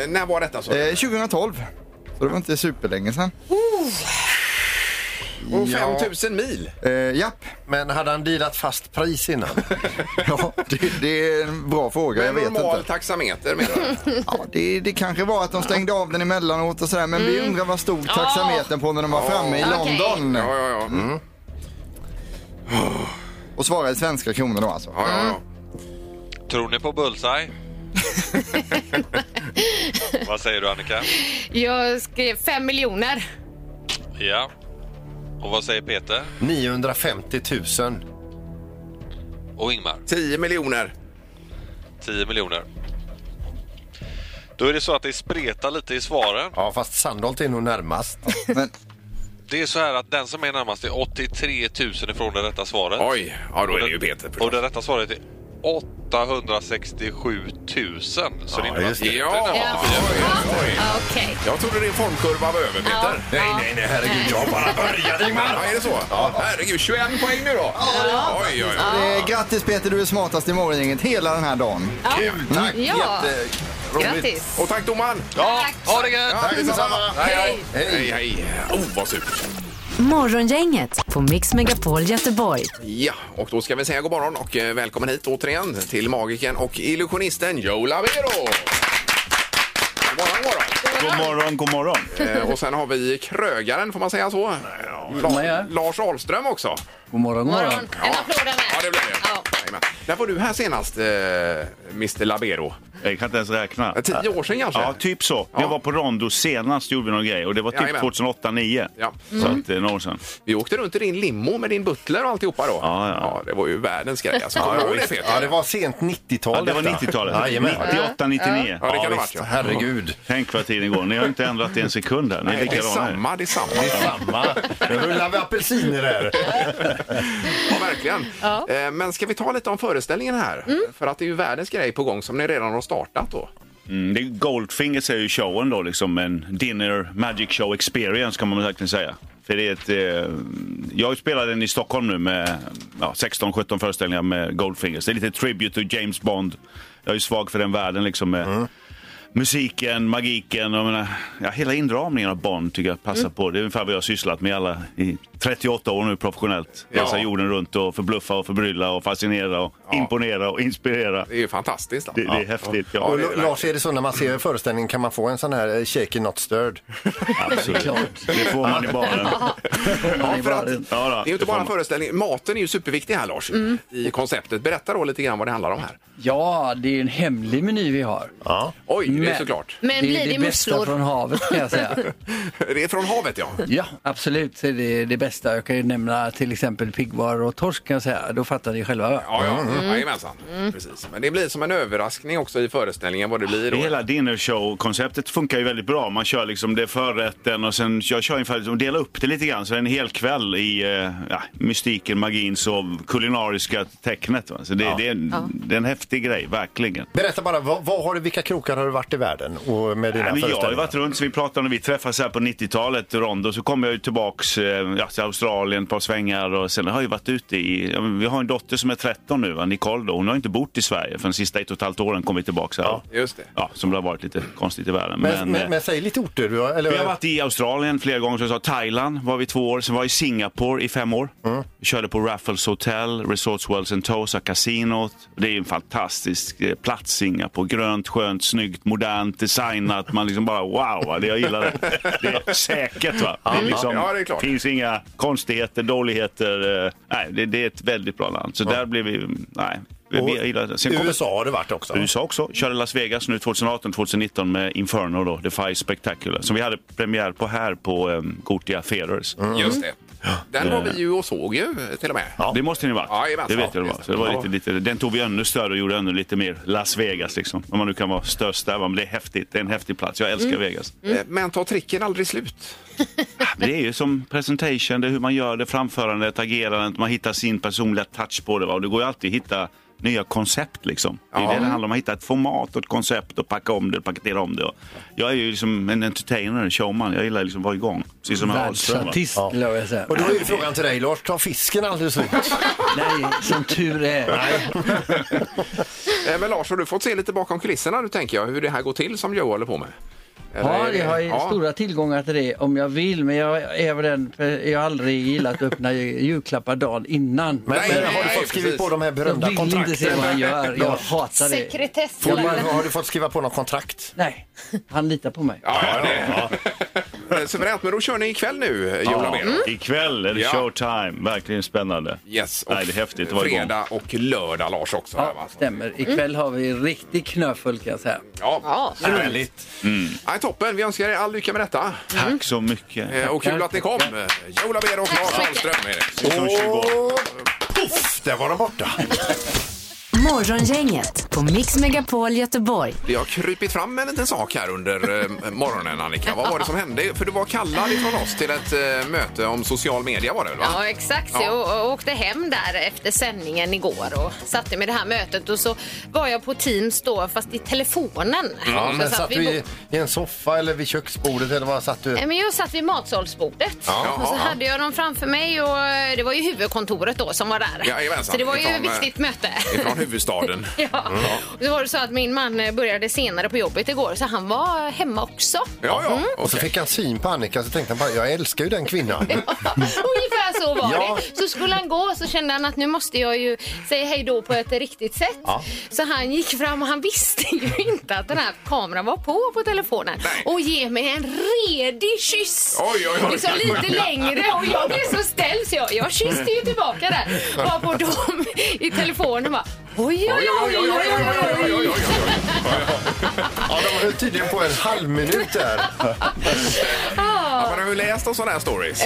Speaker 2: Eh, när var detta? Så?
Speaker 5: Eh, 2012. Så det var inte superlänge sedan.
Speaker 2: Och 5 000 mil?
Speaker 5: Eh, japp.
Speaker 3: Men hade han dealat fast pris innan?
Speaker 5: ja, det, det är en bra fråga. Jag
Speaker 2: Med
Speaker 5: vet
Speaker 2: normal
Speaker 5: inte.
Speaker 2: taxameter menar du?
Speaker 5: Ja, det, det kanske var att de stängde av den emellanåt och sådär, men vi undrar vad stod taxametern på när de var framme i
Speaker 4: Okej.
Speaker 5: London?
Speaker 2: Mm. Ja,
Speaker 5: Mm.
Speaker 2: ja, ja.
Speaker 5: Och svarade i svenska kronor då alltså.
Speaker 2: ja, ja, ja.
Speaker 8: Tror ni på bullseye? Vad säger du Annika?
Speaker 4: Jag skrev fem miljoner.
Speaker 8: Ja. Och vad säger Peter?
Speaker 3: 950 000.
Speaker 8: Och Ingmar?
Speaker 2: 10 miljoner.
Speaker 8: 10 miljoner. Då är det så att det spretar lite i svaren.
Speaker 3: Ja, fast Sandholt är nog närmast.
Speaker 5: Men,
Speaker 8: Det är så här att den som är närmast är 83 000 ifrån det rätta svaret.
Speaker 2: Oj, ja då är det ju Peter
Speaker 8: Och
Speaker 2: förstås.
Speaker 8: det rätta svaret är 867 000. Så det innebär att
Speaker 3: just det.
Speaker 8: Peter är
Speaker 2: Ja.
Speaker 8: närmast.
Speaker 4: Okej.
Speaker 2: Jag trodde din formkurva var över Peter.
Speaker 3: Nej, nej, nej, herregud. Jag har bara börjat, Ingmar.
Speaker 2: Ja, är det så? Herregud, 21 poäng nu då. Oj, oj, oj.
Speaker 5: eh, grattis Peter, du är smartast i morgongänget hela den här dagen.
Speaker 2: Mm.
Speaker 3: Kul, tack.
Speaker 4: Ja.
Speaker 3: Jätteroligt.
Speaker 4: Grattis.
Speaker 2: Och tack domaren!
Speaker 8: Ja, ha det gött!
Speaker 2: Tack detsamma! Hej, hej!
Speaker 3: Hej.
Speaker 2: Hej, hej! Oh, vad surt!
Speaker 1: Morgongänget på Mix Megapol Göteborg.
Speaker 2: Ja, och då ska vi säga god morgon och eh, välkommen hit återigen till magikern och illusionisten Joe Labero! God morgon, god morgon.
Speaker 9: God morgon, god morgon.
Speaker 2: Eh, Och sen har vi krögaren, får man säga så? La- Lars Ahlström också.
Speaker 10: God morgon, god
Speaker 4: Morgon. En applåd av mig.
Speaker 2: Ja, det blir det.
Speaker 4: Ja.
Speaker 2: Jajamän. När var du här senast, eh, Mr Labero?
Speaker 9: Jag kan inte ens räkna.
Speaker 2: Eh, Tio år sedan kanske?
Speaker 9: Ja, typ så.
Speaker 2: Ja.
Speaker 9: Jag var på Rondo senast gjorde vi någon grej och det var typ
Speaker 2: Jajamän.
Speaker 9: 2008-2009.
Speaker 2: Ja.
Speaker 9: Så att det är några år sedan.
Speaker 2: Vi åkte runt i din limo med din butler och alltihopa då.
Speaker 9: Ja, ja.
Speaker 2: det var ju världens grej. Alltså, Kommer du ihåg det, Peter?
Speaker 3: Ja, det var sent 90-tal
Speaker 9: Ja, det var
Speaker 3: detta.
Speaker 9: 90-talet.
Speaker 3: Jajamän.
Speaker 9: 98, 99.
Speaker 2: Ja, det kan
Speaker 3: Ja,
Speaker 2: det ha varit.
Speaker 3: visst.
Speaker 2: Ja.
Speaker 3: Herregud.
Speaker 9: Tänk vad tiden går. Ni har inte ändrat det en sekund här. Ni är
Speaker 2: Nej, det är
Speaker 9: likadana. här.
Speaker 2: samma, det är
Speaker 3: Samma.
Speaker 2: samma.
Speaker 3: Nu rullar vi apelsiner här.
Speaker 2: Ja, verkligen. Eh, Men ska vi ta lite om föreställningen här? För att det är ju världens grej på gång som ni redan har startat då.
Speaker 9: Mm, det är Goldfingers är ju showen då, liksom en dinner magic show experience kan man verkligen säga. För det är ett, eh, jag spelar den i Stockholm nu med ja, 16-17 föreställningar med Goldfingers. Det är lite tribute to James Bond. Jag är ju svag för den världen liksom med
Speaker 10: Mm.
Speaker 9: musiken, magiken, jag menar, ja, hela inramningen av Bond tycker jag
Speaker 10: Mm.
Speaker 9: passar på. Det är ungefär vad jag har sysslat med alla i 38 år nu professionellt. Resa
Speaker 2: Ja.
Speaker 9: jorden runt och förbluffa och förbrylla och fascinera och imponera och inspirera.
Speaker 2: Det är ju fantastiskt. Då.
Speaker 9: Det, det är häftigt. Ja.
Speaker 3: Och
Speaker 2: det är det
Speaker 3: Lars, är det så när man ser föreställningen kan man få en sån här eh, shaky not stirred?
Speaker 9: Absolut. Det får man i baren.
Speaker 2: Ja, för att,
Speaker 9: Ja, då,
Speaker 2: det är ju inte
Speaker 9: det får
Speaker 2: bara en
Speaker 9: man.
Speaker 2: föreställning. Maten är ju superviktig här, Lars, i konceptet. Berätta då lite grann vad det handlar om här.
Speaker 10: Ja, det är en hemlig meny vi har.
Speaker 2: Oj, det är
Speaker 10: Men-
Speaker 2: såklart.
Speaker 4: Men
Speaker 10: det
Speaker 4: blir
Speaker 10: är
Speaker 4: det
Speaker 10: det bästa
Speaker 4: musslor?
Speaker 10: från havet kan jag säga.
Speaker 2: Det är från havet, ja.
Speaker 10: Ja, absolut. Det är det- det bästa. Jag kan ju nämna till exempel piggvar och torsk kan jag säga. Då fattar ni själva. va?
Speaker 2: Ja, ja.
Speaker 9: Mm.
Speaker 2: Jajamensan. Mm, Precis. Men det blir som en överraskning också i föreställningen vad det blir
Speaker 9: Det
Speaker 2: då.
Speaker 9: hela dinnershow-konceptet funkar ju väldigt bra. Man kör liksom det är förrätten och sen jag kör ungefär liksom dela upp det lite grann. Så det är en hel kväll i eh, ja, mystiken, magins och kulinariska tecknet. Va? Så det, det, är, en- det är en häftig grej, verkligen.
Speaker 3: Berätta bara, vad, vad har du, vilka krokar har du varit i världen och med dina
Speaker 9: Nej, men jag har ju
Speaker 3: föreställningar?
Speaker 9: varit runt, så vi pratade när vi träffades här på 90-talet, Rondo, så kom jag ju tillbaks eh, ja, till Australien ett par svängar och sen har jag ju varit ute i, ja, men vi har en dotter som är 13 nu, va, Nicole då. hon har ju inte bott i Sverige för de sista ett och ett halvt åren kom vi tillbaks här. Ja,
Speaker 2: Just det.
Speaker 9: Ja, som det har varit lite konstigt i världen. Men,
Speaker 3: Men, men,
Speaker 9: eh,
Speaker 3: men säg lite orter. Du har, eller,
Speaker 9: vi har varit i Australien flera gånger, som jag sa, Thailand var vi två år, sen var jag i Singapore i fem år. Vi körde på Raffles Hotel, Resorts World Sentosa, Casinot. Det är en fantastisk eh, plats Singapore. Grönt, skönt, snyggt, modernt, designat. Man liksom bara wow, va? det jag gillar det. Det är säkert va. Det är liksom,
Speaker 2: Mm. Ja, det är klart.
Speaker 9: finns inga konstigheter, dåligheter. eh, Nej, det, det är ett väldigt bra land. Så där blev vi, nej. Vi, vi gillar det. Sen
Speaker 3: eh,
Speaker 9: kom-
Speaker 3: USA har du varit också.
Speaker 9: USA också. Körde Las Vegas nu 2018-2019 med Inferno då, The Fire Spectacular. Som vi hade premiär på här på um, Gotia Theatres.
Speaker 2: Just det. Mm. Den var vi ju och såg ju till och med.
Speaker 9: Eh. Det måste ni ha varit.
Speaker 2: Ja, jajamän.
Speaker 9: det vet
Speaker 2: Ja,
Speaker 9: jag det var.
Speaker 2: just
Speaker 9: Så det var lite, lite, den tog vi ännu större och gjorde ännu lite mer Las Vegas liksom. Om man nu kan vara störst där. va. Men det är häftigt. Det är en häftig plats. Jag älskar
Speaker 10: Mm.
Speaker 9: Vegas.
Speaker 2: Eh, Men tar tricken aldrig slut?
Speaker 9: Men Det är ju som presentation, det är hur man gör det, framförandet, agerandet, man hittar sin personliga touch på det. Va? Och det går ju alltid att hitta nya koncept liksom. Det är det det handlar om, att hitta ett format och ett koncept och packa om det, paketera om det. Och Jag är ju liksom en entertainer, en showman. Jag gillar liksom att vara igång. Precis som
Speaker 2: Mm.
Speaker 9: Ahlström. va.
Speaker 10: Världsartist, lär jag säga.
Speaker 3: Och då är ju frågan till dig Lars, tar fisken aldrig
Speaker 2: Typ.
Speaker 3: slut?
Speaker 10: Nej, som tur är.
Speaker 2: Eh, Men Lars, har du fått se lite bakom kulisserna nu tänker jag, hur det här går till som Joe håller på med?
Speaker 10: Ja,
Speaker 2: Eller-
Speaker 10: jag har ju
Speaker 2: Ja.
Speaker 10: stora tillgångar till det om jag vill, men jag är väl den, för jag har aldrig gillat att öppna ju- julklappar dagen innan.
Speaker 3: Men- men har du fått skrivit på de här berömda
Speaker 10: Jag vill inte se
Speaker 3: kontrakten?
Speaker 10: vad han gör, jag
Speaker 3: Lars.
Speaker 10: hatar det.
Speaker 4: Sekretess.
Speaker 3: Får man, har du fått skriva på något kontrakt?
Speaker 10: Nej, han litar på mig.
Speaker 2: Ja, det. Eh, Suveränt, men då kör ni ikväll nu, Joel Labero.
Speaker 4: Mm.
Speaker 9: Ikväll är det
Speaker 2: Ja.
Speaker 9: showtime. Verkligen spännande.
Speaker 2: Yes, och
Speaker 9: Nej, det är häftigt. Det var igång.
Speaker 2: fredag och lördag Lars också. här, va?
Speaker 10: Ja, stämmer.
Speaker 4: Mm.
Speaker 10: Ikväll har vi en riktig knöfull kan jag säga.
Speaker 2: Ja,
Speaker 10: Ja.
Speaker 2: härligt. Ja, toppen, vi önskar er all lycka med detta.
Speaker 9: Tack så mycket.
Speaker 2: Eh, Och kul att ni kom. Joel Labero och Lars Ahlström är det.
Speaker 9: Som 20 år.
Speaker 3: Poff, där var de borta.
Speaker 1: Morgongänget på Mix Megapol Göteborg.
Speaker 2: Det har krypit fram en liten sak här under eh, morgonen, Annika. Vad var det som hände? För du var kallad ifrån oss till ett eh, möte om social media var det väl? Va?
Speaker 4: Ja, exakt.
Speaker 2: Ja.
Speaker 4: Jag å- åkte hem där efter sändningen igår och satte mig i det här mötet och så var jag på Teams då, fast i telefonen.
Speaker 3: Ja,
Speaker 4: Så
Speaker 3: men
Speaker 4: satt
Speaker 3: satt
Speaker 4: vi
Speaker 3: du
Speaker 4: bo-
Speaker 3: i, i en soffa eller vid köksbordet eller vad satt du?
Speaker 4: Nej, men jag satt vid matsalsbordet
Speaker 3: Ja,
Speaker 4: och så
Speaker 3: ja, ja.
Speaker 4: hade jag dem framför mig och eh, det var ju huvudkontoret då som var där.
Speaker 2: Jajamensan,
Speaker 4: så det var ju
Speaker 2: ifrån,
Speaker 4: ett
Speaker 2: eh,
Speaker 4: viktigt möte.
Speaker 2: Ifrån huvudstaden.
Speaker 4: Ja.
Speaker 2: Mm.
Speaker 4: Och så var det så att min man eh, började senare på jobbet igår så han var hemma också.
Speaker 2: Ja,
Speaker 4: Mm.
Speaker 2: ja.
Speaker 3: Och så fick han syn på Annika så tänkte han bara, jag älskar ju den kvinnan.
Speaker 4: Ungefär så var
Speaker 3: Ja.
Speaker 4: det. Så skulle han gå så kände han att nu måste jag ju säga hej då på ett riktigt sätt.
Speaker 3: Ja.
Speaker 4: Så han gick fram och han visste ju inte att den här kameran var på på telefonen. Och ge mig en redig kyss.
Speaker 2: Oj, oj, oj.
Speaker 4: Liksom lite längre och jag blev så ställd så jag, jag kysste ju tillbaka där. Varpå de i telefonen bara oj, oj, oj, oj, oj, oj, oj.
Speaker 3: Ja, de höll tydligen på en halv minut där.
Speaker 2: Ja, man har ju läst om sådana här stories.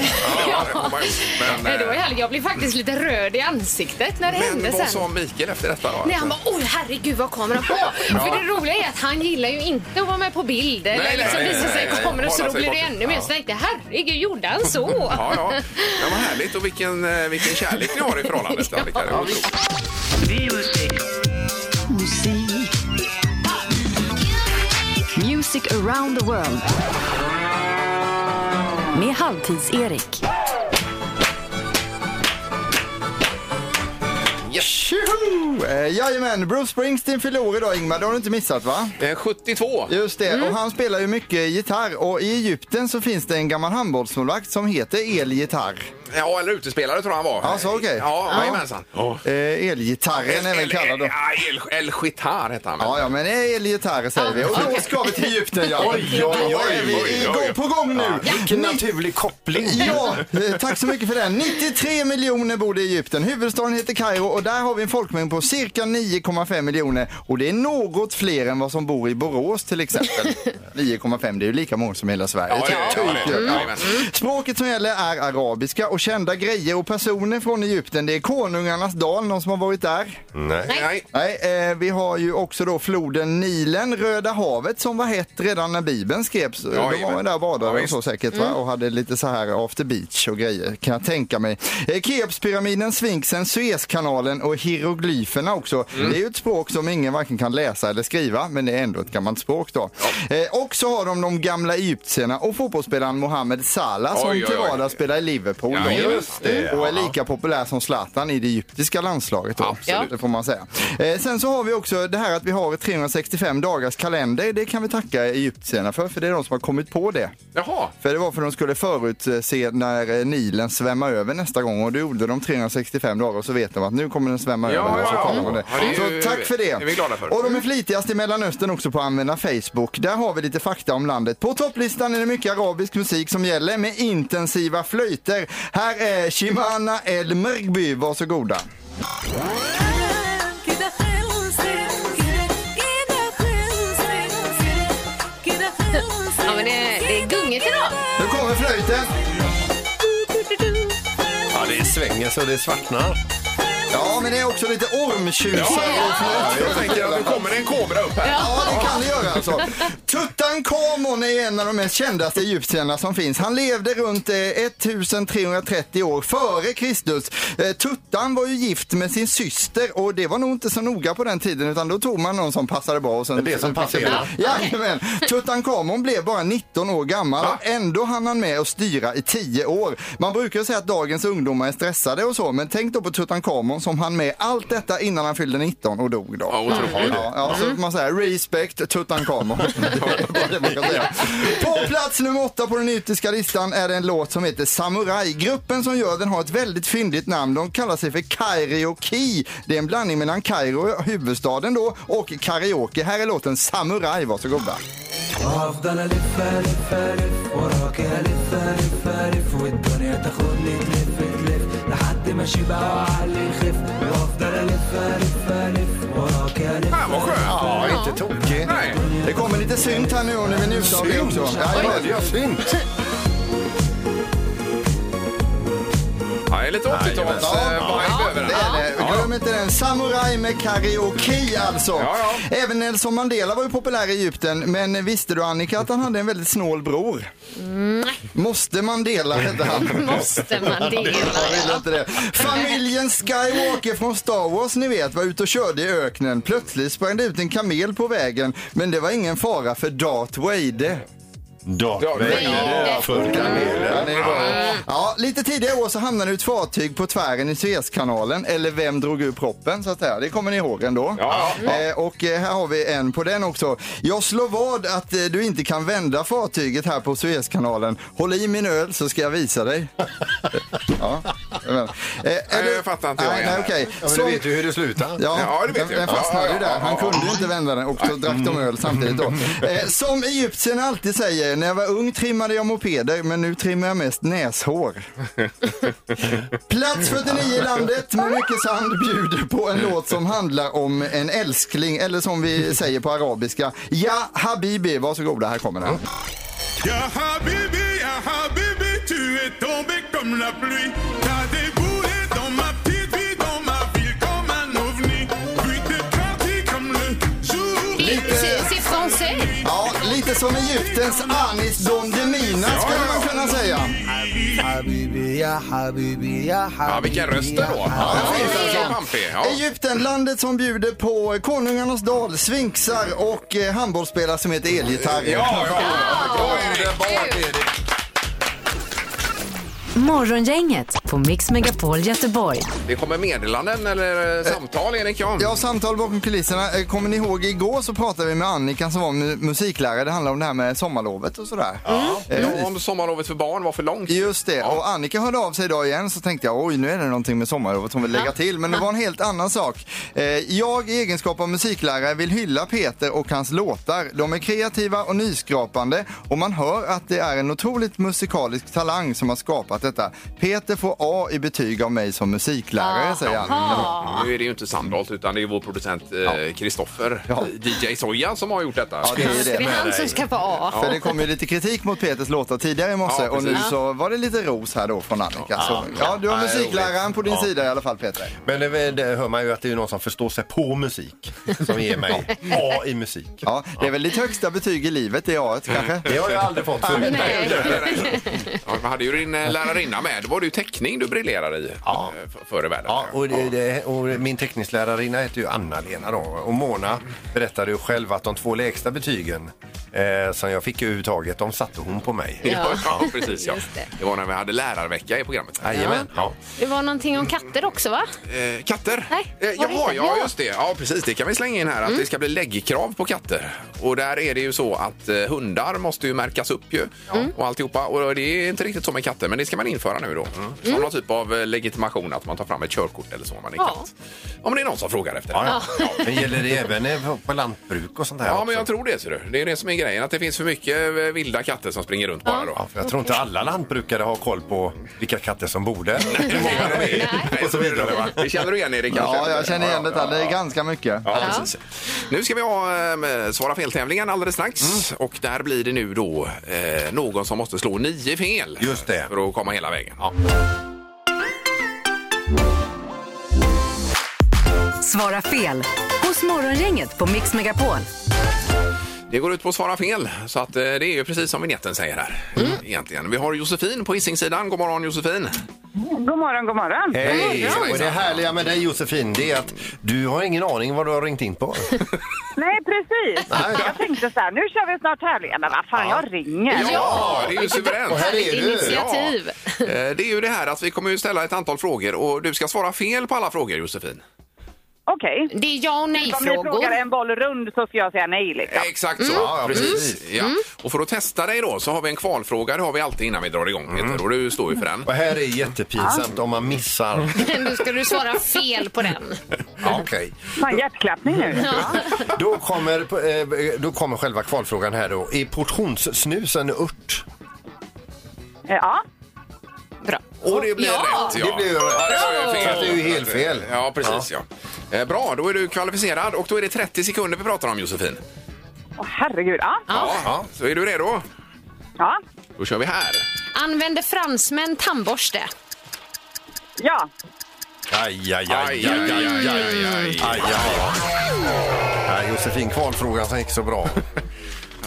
Speaker 2: Ja, det har man gjort. Men,
Speaker 4: Nej, det var
Speaker 2: eh,
Speaker 4: härligt. Jag blev faktiskt lite rörd i ansiktet när det hände
Speaker 2: men vad
Speaker 4: sen.
Speaker 2: sa Mikael efter detta då?
Speaker 4: Nej, han bara oj herregud vad kameran på. För det roliga är att han gillar ju inte att vara med på bild eller
Speaker 2: nej,
Speaker 4: liksom
Speaker 2: nej,
Speaker 4: visa
Speaker 2: nej,
Speaker 4: sig
Speaker 2: nej,
Speaker 4: i kameran så
Speaker 2: hålla
Speaker 4: då
Speaker 2: sig
Speaker 4: blir det
Speaker 2: borta.
Speaker 4: ännu mer.
Speaker 2: Ja.
Speaker 4: Så tänkte jag herregud gjorde han så?
Speaker 2: Ja, ja. ja vad härligt och vilken, eh, vilken kärlek ni har i förhållandet. Annika. Det var otroligt.
Speaker 1: Music around the world. Med Halvtids-Erik.
Speaker 5: Tjoho! Eh, Jajamän, Bruce Springsteen fyller år idag Ingmar, det har du inte missat va?
Speaker 2: Eh, 72.
Speaker 5: Just det, och han spelar ju mycket gitarr och i Egypten så finns det en gammal handbollsmålvakt som heter Elgitarr.
Speaker 2: Ja, eller utespelare tror jag han var.
Speaker 5: Ja, så okej.
Speaker 2: Ja,
Speaker 5: Ja.
Speaker 2: jajamensan.
Speaker 5: Eh, elgitarren även kallad då.
Speaker 2: Ja, El, El Chitar hette han.
Speaker 5: Ja, ja, men elgitarr säger vi. Och då ska vi till Egypten ja.
Speaker 3: Oj, oj,
Speaker 5: Då
Speaker 3: oj,
Speaker 5: är vi
Speaker 3: oj,
Speaker 5: igång-
Speaker 3: oj.
Speaker 5: på gång nu.
Speaker 3: Vilken
Speaker 5: Ni-
Speaker 3: naturlig koppling.
Speaker 5: Ja, eh, tack så mycket för den. 93 miljoner bor det i Egypten. Huvudstaden heter Kairo och där har vi en folkmängd på cirka 9,5 miljoner och det är något fler än vad som bor i Borås till exempel. 9,5 det är ju lika många som hela Sverige.
Speaker 2: Ja, det är- ja, det är-
Speaker 5: Typ,
Speaker 2: jajamän.
Speaker 3: Mm.
Speaker 5: Språket som gäller är arabiska och kända grejer och personer från Egypten det är konungarnas dal, någon som har varit där.
Speaker 3: Nej.
Speaker 2: Nej.
Speaker 5: Nej, eh, vi har ju också då floden Nilen, Röda havet som var hett redan när Bibeln skrevs.
Speaker 2: Ja,
Speaker 5: De var
Speaker 2: jajamän.
Speaker 5: väl där och
Speaker 2: Ja,
Speaker 5: badade och
Speaker 2: visst.
Speaker 5: så säkert va? och hade lite så här after beach och grejer kan jag tänka mig. Eh, Keopspyramiden, Sfinksen, Suezkanalen och hieroglyferna också.
Speaker 2: Mm.
Speaker 5: Det är ju ett språk som ingen varken kan läsa eller skriva men det är ändå ett gammalt språk då. Eh, och så har de de gamla egyptierna och fotbollsspelaren Mohamed Salah som
Speaker 2: Oj, oj,
Speaker 5: till
Speaker 2: oj.
Speaker 5: vardags spelar i Liverpool.
Speaker 2: Ja,
Speaker 5: då.
Speaker 2: just det.
Speaker 5: Och är lika populär som Zlatan i det egyptiska landslaget. Då.
Speaker 2: Absolut.
Speaker 5: Det får man säga. Eh, sen så har vi också det här att vi har 365 dagars kalender. Det kan vi tacka egyptierna för, för det är de som har kommit på det.
Speaker 2: Jaha.
Speaker 5: För det var för de skulle förutse när eh, Nilen svämmar över nästa gång och då gjorde de 365 dagar och så vet de att nu kommer den svämma
Speaker 2: Ja,
Speaker 5: över. och så
Speaker 2: ja,
Speaker 5: kollar
Speaker 2: ja.
Speaker 5: man det.
Speaker 2: Ja, det är ju-
Speaker 5: så tack för det.
Speaker 2: är vi glada för.
Speaker 5: Och de är flitigast i Mellanöstern också på att använda Facebook. Där har vi lite fakta om landet. På topplistan är det mycket arabisk musik som gäller med intensiva flöjter. Här är Shimana El Mergby, varsågoda.
Speaker 4: Ja, men det, det är gungigt idag.
Speaker 5: Nu kommer flöjten.
Speaker 3: Ja, det svänger så det svartnar.
Speaker 5: Ja, men det är också lite ormtjusare
Speaker 2: Ja,
Speaker 5: och
Speaker 2: ja,
Speaker 5: flöjt.
Speaker 2: jag tänker att nu kommer det en kobra upp här.
Speaker 5: Ja, det kan det göra alltså. Tutankhamon är en av de mest kändaste egyptierna som finns. Han levde runt eh, 1330 år före Kristus. Eh, Tuttan var ju gift med sin syster och det var nog inte så noga på den tiden utan då tog man någon som passade bra. Och sen,
Speaker 3: Det som passade bra.
Speaker 5: Jajamän. Tutankhamon blev bara 19 år gammal och ändå hann han med att styra i 10 år. Man brukar ju säga att dagens ungdomar är stressade och så men tänk då på Tutankhamon Simon som hann med allt detta innan han fyllde 19 och dog då. Ja,
Speaker 2: otroligt.
Speaker 5: Ja, så man säger respect Tutankhamon. Det var det man kan säga. På plats nummer åtta på den etiska listan är det en låt som heter Samurai. Gruppen som gör den har ett väldigt fyndigt namn. De kallar sig för Kairi Ki. Det är en blandning mellan Kairo, huvudstaden då, och karaoke. Här är låten Samurai, varsågoda.
Speaker 11: وهفضل الف الف الف وراك الف الف الف والدنيا تاخدني تلف تلف لحد ما اشبع وعقلي يخف وافضل الف الف الف وراك الف
Speaker 2: Fan vad skönt!
Speaker 3: Ja, inte tokig.
Speaker 2: Nej.
Speaker 5: Det kommer lite synt här nu och ni vill njuta av det också.
Speaker 3: Synt?
Speaker 5: Jajamän.
Speaker 3: Ja, det gör synt.
Speaker 2: Ja, det är lite 80-tals
Speaker 5: Ja,
Speaker 2: eh, vibe över den.
Speaker 5: Det är det. Glöm inte den. Samurai med karaoke alltså. Även Nelson Mandela var ju populär i Egypten. Men visste du Annika att han hade en väldigt snål bror? Måste Mandela hette han.
Speaker 4: Måste man
Speaker 5: Jag
Speaker 4: dela?
Speaker 5: vill inte det. Familjen Skywalker från Star Wars ni vet var ute och körde i öknen. Plötsligt sprang det ut en kamel på vägen. Men det var ingen fara för Darth Vader.
Speaker 9: Darth
Speaker 4: Vader.
Speaker 9: För
Speaker 5: Ja, det är bra. Ja, lite tidigare i år så hamnade ett fartyg på tvären i Suezkanalen. Eller vem drog ur proppen så att säga. Det kommer ni ihåg ändå.
Speaker 2: Ja,
Speaker 5: Eh, och eh, här har vi en på den också. Jag slår vad att eh, du inte kan vända fartyget här på Suezkanalen. Håll i min öl så ska jag visa dig. ja. men, eh,
Speaker 2: Nej,
Speaker 5: eller-
Speaker 2: jag fattar inte.
Speaker 5: Nej, nej, okej.
Speaker 3: Ja, men
Speaker 5: Som-
Speaker 3: du vet ju hur det slutar.
Speaker 5: Ja,
Speaker 2: Ja, det vet
Speaker 5: den,
Speaker 2: jag.
Speaker 5: den fastnade
Speaker 2: Ja, ja,
Speaker 5: ju där.
Speaker 2: ja,
Speaker 5: Han
Speaker 2: ja, Mm.
Speaker 5: kunde ju inte vända den och så drack de öl samtidigt då. Eh, som egyptierna alltid säger, när jag var ung trimmade jag mopeder men nu trimmar jag mest näshår. Plats 49 i landet med mycket sand bjuder på en låt som handlar om en älskling eller som vi säger på arabiska, Ja Habibi. Varsågoda, här kommer den.
Speaker 11: يا حبيبي يا حبيبي tu es tombé comme la pluie T'as déboulé dans ma petite vie, dans ma ville comme un ovni Puis t'es parti comme le jour
Speaker 4: C'est c'est français.
Speaker 5: Ja, lite som Egyptens Anis Don Demina skulle man kunna säga.
Speaker 11: حبيبي يا حبيبي يا
Speaker 2: Ja, vilken röst det var. Ja, den finns den som pampig. Ja.
Speaker 5: Egypten, landet som bjuder på Konungarnas dal, sfinxar och eh, handbollsspelare som heter elgitarr.
Speaker 2: Ja, ja, ja.
Speaker 3: Underbart är det.
Speaker 1: Morgongänget på Mix Megapol Göteborg.
Speaker 2: Det kommer meddelanden eller eh, samtal, Erik Jan.
Speaker 5: Ja, samtal bakom kulisserna. Eh, Kommer ni ihåg igår så pratade vi med Annika som var mu- musiklärare. Det handlade om det här med sommarlovet och sådär. Eh,
Speaker 2: Ja, Mm. om sommarlovet för barn var för långt.
Speaker 5: Just det, och Annika hörde av sig idag igen så tänkte jag oj nu är det någonting med sommarlovet hon vill lägga till. Men det var en helt annan sak. Eh, Jag i egenskap av musiklärare vill hylla Peter och hans låtar. De är kreativa och nyskrapande och man hör att det är en otroligt musikalisk talang som har skapat detta. Peter får A i betyg av mig som musiklärare säger Annika.
Speaker 2: Nu är det ju inte Sandholt utan det är vår producent eh, Kristoffer, DJ Soja, som har gjort detta.
Speaker 5: Ja, det är ju
Speaker 4: Det är
Speaker 5: det.
Speaker 4: han som ska få A.
Speaker 5: För det kom ju lite kritik mot Peters låtar tidigare i morse
Speaker 2: Ja,
Speaker 5: och nu
Speaker 2: precis.
Speaker 5: så var det lite ros här då från Annika. Så, ja, du har
Speaker 3: Nej,
Speaker 5: musikläraren på din sida i alla fall Peter.
Speaker 3: Men det, det hör man ju att det är någon som förstår sig på musik som ger mig A i musik.
Speaker 5: Ja, det är väl ditt högsta betyg i livet, det A kanske?
Speaker 3: Det har jag aldrig fått förut.
Speaker 2: Ja, man hade ju din eh, lärarinna med. Då var det ju teckning du briljerade i ja. före världen.
Speaker 3: Ja, och, det, det, och min teckningslärarinna heter ju Anna-Lena då. Och Mona berättade ju själv att de två lägsta betygen eh, som jag fick överhuvudtaget, de satte hon på mig.
Speaker 2: Ja, ja, precis. Ja.
Speaker 4: Just det.
Speaker 2: Det. var när vi hade lärarvecka i programmet.
Speaker 3: Jajamän. Ja.
Speaker 4: Det var någonting om katter också, va?
Speaker 2: Eh, katter?
Speaker 4: Nej,
Speaker 2: eh,
Speaker 4: var
Speaker 2: jaha,
Speaker 4: det inte?
Speaker 2: ja
Speaker 4: Ja.
Speaker 2: just det. Ja, precis. Det kan vi slänga in här att det ska bli läggkrav på katter. Och där är det ju så att eh, hundar måste ju märkas upp ju och alltihopa. Och det är inte riktigt så med katter, men det ska man införa nu då. Som någon typ av eh, legitimation, att man tar fram ett körkort eller så om man är
Speaker 4: Ja.
Speaker 2: katt. Om det är någon som frågar efter det.
Speaker 3: Ja, ja. Men gäller det även eh, på lantbruk och sånt här
Speaker 2: Ja,
Speaker 3: också?
Speaker 2: men jag tror det. Ser du. Det är det som är grejen, att det finns för mycket eh, vilda katter som springer runt bara. Då.
Speaker 3: Ja, för jag tror inte alla lantbrukare har koll på vilka katter som bor där. Hur många de är.
Speaker 2: Nej, så vidare, va? Det känner du igen Erik? kanske?
Speaker 5: Ja, jag känner igen
Speaker 2: Ja,
Speaker 5: detta.
Speaker 2: ja,
Speaker 5: Det
Speaker 2: ja.
Speaker 5: är ganska mycket.
Speaker 2: Ja, precis. Nu ska vi ha eh, Svara fel-tävlingen alldeles
Speaker 3: Mm.
Speaker 2: strax. Och där blir det nu då eh, någon som måste slå nio fel.
Speaker 3: Just det.
Speaker 2: För att komma hela vägen.
Speaker 1: Svara fel hos Morgongänget på Mix Megapol.
Speaker 2: Det går ut på att svara fel. Så att, eh, det är ju precis som vignetten säger här.
Speaker 12: Mm.
Speaker 2: Egentligen. Vi har Josefin på Hisingssidan. God morgon Josefin!
Speaker 7: God morgon, god morgon.
Speaker 3: Hej!
Speaker 2: Hejsan,
Speaker 3: Och det härliga med dig Josefin, det är att du har ingen aning vad du har ringt in på.
Speaker 12: Nej, precis.
Speaker 3: Nej.
Speaker 12: Jag tänkte så här, nu kör vi snart tävling. Men vad fan, jag ringer.
Speaker 2: Ja, det är ju suveränt.
Speaker 12: Och här är du. Initiativ.
Speaker 2: Ja. Eh, Det är ju det här att vi kommer ju ställa ett antal frågor och du ska svara fel på alla frågor Josefin.
Speaker 12: Okej.
Speaker 4: Det är ja och
Speaker 12: Om
Speaker 4: nej-frågor.
Speaker 12: ni frågar en boll rund så ska jag säga nej liksom.
Speaker 2: Eh, Exakt så. Ja, ja, precis. Ja. Och för att testa dig då så har vi en kvalfråga, det har vi alltid innan vi drar igång Peter och du står ju för den.
Speaker 3: Och här är jättepinsamt om man missar.
Speaker 4: Då ska du svara fel på den.
Speaker 3: Ja, okej.
Speaker 12: Fan, hjärtklappning nu.
Speaker 3: Då kommer, eh, då kommer själva kvalfrågan här då. Är portionssnus en ört?
Speaker 12: Eh, Ja.
Speaker 4: Bra.
Speaker 2: Och det blev rätt ja.
Speaker 3: Det blev rätt.
Speaker 2: var ju
Speaker 3: Så att det är ju helt fel.
Speaker 2: Ja, precis ja. Eh, Bra, då är du kvalificerad och då är det 30 sekunder vi pratar om Josefin.
Speaker 12: Åh, herregud. Ja.
Speaker 2: Ja. Så är du redo?
Speaker 12: Ja.
Speaker 2: Då kör vi här.
Speaker 4: Använder fransmän tandborste?
Speaker 12: Ja.
Speaker 3: Aj, aj, aj, aj, aj, aj, aj, aj, aj, Nej, Josefin, kvalfrågan som gick så bra.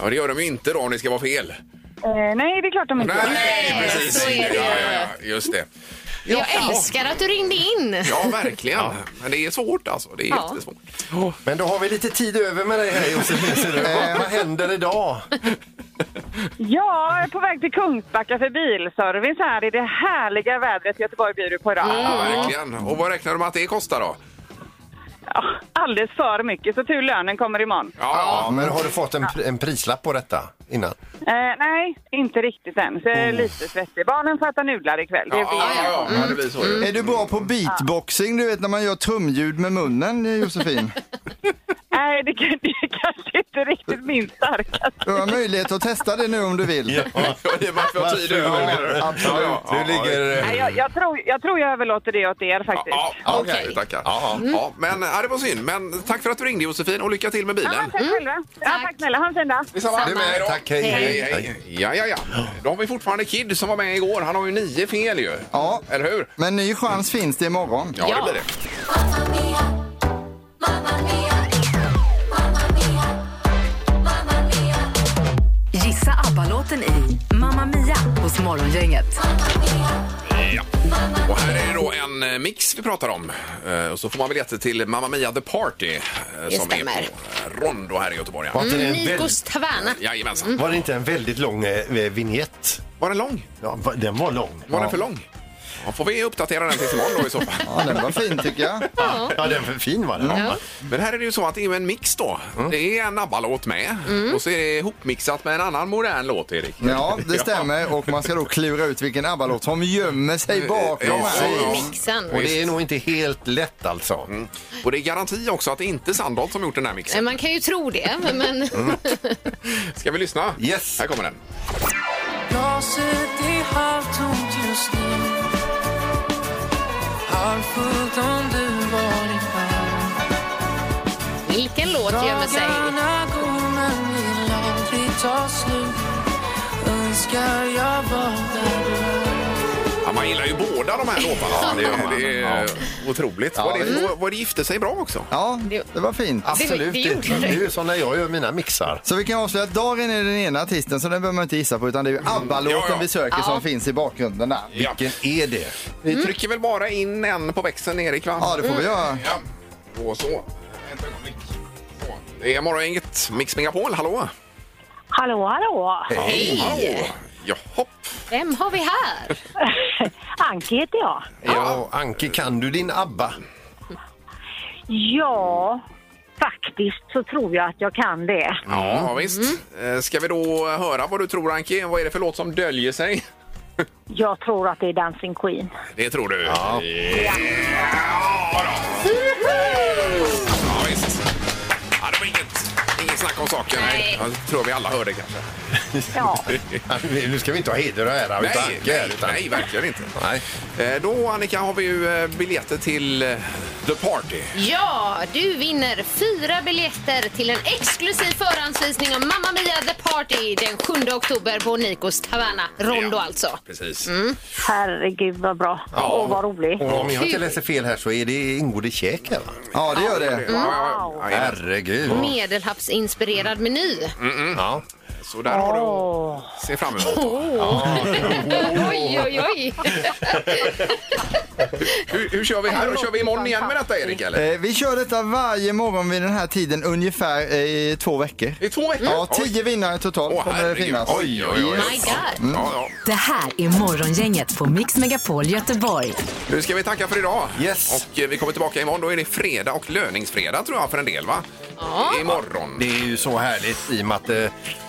Speaker 2: Ja, det gör de ju inte då om det ska vara fel.
Speaker 12: Eh, nej, det är klart de inte gör.
Speaker 2: precis.
Speaker 4: så är det.
Speaker 2: Ja, ja, ja, just det.
Speaker 4: Jag älskar att du ringde in.
Speaker 2: Ja, verkligen. Men det är svårt alltså. Det är
Speaker 4: Ja.
Speaker 2: jättesvårt.
Speaker 3: Men då har vi lite tid över med dig här Josefin. ser du. Eh, Vad händer idag?
Speaker 12: Ja, jag är på väg till Kungsbacka för bilservice här i det härliga vädret Göteborg bjuder på idag.
Speaker 2: Ja, verkligen. Och vad räknar du med att det kostar då?
Speaker 12: Alldeles för mycket, så tur lönen kommer imorgon.
Speaker 3: Ja, men har du fått en, pr- en prislapp på detta innan?
Speaker 12: Eh, nej, inte riktigt än. Så jag är lite svettig. Barnen får äta nudlar ikväll. Det blir...
Speaker 2: det blir så.
Speaker 5: Är du bra på beatboxing? Du vet när man gör trumljud med munnen, eh, Josefin?
Speaker 12: Nej, det, kan- det är kanske inte riktigt min starka
Speaker 5: Du har möjlighet att testa det nu om du vill.
Speaker 2: Ja, det är bara för att ha tid över. menar du?
Speaker 5: absolut.
Speaker 2: Ja, ja,
Speaker 3: Du
Speaker 2: ja,
Speaker 3: ligger... eh,
Speaker 12: Nej, jag, jag, tror, jag tror jag överlåter det åt er faktiskt. Ja,
Speaker 2: Ja, okej, Mm. tackar. Ja, men ja, det var synd. Men tack för att du ringde Josefin och lycka till med bilen.
Speaker 12: tack själva. Ja, tack snälla. Ha en fin dag.
Speaker 2: Du med. Hej då. Hej, hej. Ja, ja, ja. Då har vi fortfarande Kid som var med igår. Han har ju nio fel ju.
Speaker 5: Ja.
Speaker 2: Eller hur?
Speaker 5: Men ny chans finns det imorgon.
Speaker 2: Ja, det blir det.
Speaker 1: Gissa ABBA-låten i Mamma Mia hos Morgongänget.
Speaker 2: Ja. Och här är det då en eh, mix vi pratar om. Eh, Och så får man biljetter till Mamma Mia The Party eh,
Speaker 4: Det
Speaker 2: som är på
Speaker 4: stämmer.
Speaker 2: eh, Rondo här i Göteborg. ja. Mm.
Speaker 3: Var inte det Mm. en
Speaker 12: Mm,
Speaker 4: Nikos taverna.
Speaker 2: Jajamensan.
Speaker 3: Var det inte en väldigt lång eh, vignett?
Speaker 2: Var den lång?
Speaker 3: Ja, va- den var lång.
Speaker 2: Var
Speaker 3: ja.
Speaker 2: den för lång? Ja, får vi uppdatera den till imorgon då i så fall.
Speaker 5: Ja, den var fin tycker jag.
Speaker 3: Ja, den för fin var den. Ja.
Speaker 2: Men här är det ju så att det är ju en mix då. Det är en ABBA-låt med och så är det ihopmixat med en annan modern låt, Erik.
Speaker 5: Ja, det stämmer. Och man ska då klura ut vilken ABBA-låt som gömmer sig bakom
Speaker 2: Ja,
Speaker 5: här.
Speaker 2: ja.
Speaker 4: Mixen.
Speaker 3: Och det är nog inte helt lätt alltså.
Speaker 2: Och det är garanti också att det inte är Sandholt som gjort den här
Speaker 4: Nej,
Speaker 2: mixen.
Speaker 4: Man kan ju tro det, men...
Speaker 2: Mm. Ska vi lyssna?
Speaker 3: Yes.
Speaker 2: Här kommer den.
Speaker 11: Glaset är halvtomt just nu Halvfullt om du varit här
Speaker 4: Vilken låt gömmer sig?
Speaker 11: Dagarna går men vill aldrig ta slut Önskar jag var där du
Speaker 2: Ja, man gillar ju båda de här låtarna.
Speaker 4: Ja,
Speaker 2: det, är- det är otroligt.
Speaker 3: Ja,
Speaker 2: var, det,
Speaker 3: det-
Speaker 2: var, var det gifte sig bra också?
Speaker 5: Ja, det var fint.
Speaker 3: Absolut.
Speaker 4: det
Speaker 3: Det,
Speaker 4: gjorde
Speaker 3: det,
Speaker 4: det.
Speaker 3: är ju som när jag gör mina mixar.
Speaker 5: Så vi kan avslöja att Darin är den ena artisten, så den behöver man inte gissa på, utan det är ju ABBA-låten
Speaker 2: Mm. Ja, ja.
Speaker 5: vi söker som finns i bakgrunden där.
Speaker 2: Ja.
Speaker 3: Vilken är det?
Speaker 2: Vi trycker väl bara in en på växeln, Erik? Va?
Speaker 5: Ja, det får vi göra.
Speaker 2: Ja. Och så. Ett ögonblick. Så. Det är Morgongänget, Mix Megapol. Hallå!
Speaker 7: Hallå, hallå!
Speaker 2: Hallå! Ja, hopp.
Speaker 4: Vem har vi här?
Speaker 7: Anki heter jag.
Speaker 3: Ja, Anke, kan du din ABBA?
Speaker 7: Ja, faktiskt så tror jag att jag kan det.
Speaker 2: Ja, visst. Eh, Ska vi då höra vad du tror, Anki? Vad är det för låt som döljer sig?
Speaker 7: Jag tror att det är Dancing Queen.
Speaker 2: Det tror du? Ja. då. ja visst. Ja, det var inget, inget snack om saken.
Speaker 4: Nej.
Speaker 2: Jag tror vi alla hörde kanske.
Speaker 7: Ja.
Speaker 3: Alltså, Nu ska vi inte ha heder och ära
Speaker 2: Nej,
Speaker 3: utan Anke. här,
Speaker 2: nej,
Speaker 3: utan...
Speaker 2: nej, verkligen inte.
Speaker 3: Nej.
Speaker 2: Eh, Då, Annika, har vi ju eh, biljetter till eh, The Party.
Speaker 4: Ja, du vinner fyra biljetter till en exklusiv förhandsvisning av Mamma Mia The Party den 7 oktober på Nikos taverna. Rondo
Speaker 2: Ja.
Speaker 4: alltså.
Speaker 2: Precis.
Speaker 7: Herregud vad bra. Åh, vad rolig.
Speaker 3: Och om jag inte läser fel här så är det, ingår det käk här va?
Speaker 5: Ja, det gör det.
Speaker 2: Ja, ja, ja, ja.
Speaker 3: Herregud.
Speaker 4: Medelhavsinspirerad meny.
Speaker 3: Ja.
Speaker 2: Så där har du att se fram emot.
Speaker 4: Oj, oj, oj.
Speaker 2: Hur, hur kör vi här? Och kör vi imorgon igen med detta Erik eller?
Speaker 5: Eh, vi kör detta varje morgon vid den här tiden ungefär eh, i två veckor.
Speaker 2: I två veckor?
Speaker 5: Ja, tio vinnare totalt kommer det finnas.
Speaker 2: Oj, oj, oj.
Speaker 5: Yes. Mm.
Speaker 1: Det här är Morgongänget på Mix Megapol Göteborg.
Speaker 2: Nu ska vi tacka för idag. Yes. Och eh, vi kommer tillbaka imorgon. Då är det fredag och löningsfredag tror jag för en del va? Ja. Imorgon.
Speaker 3: Det är ju så härligt i och med att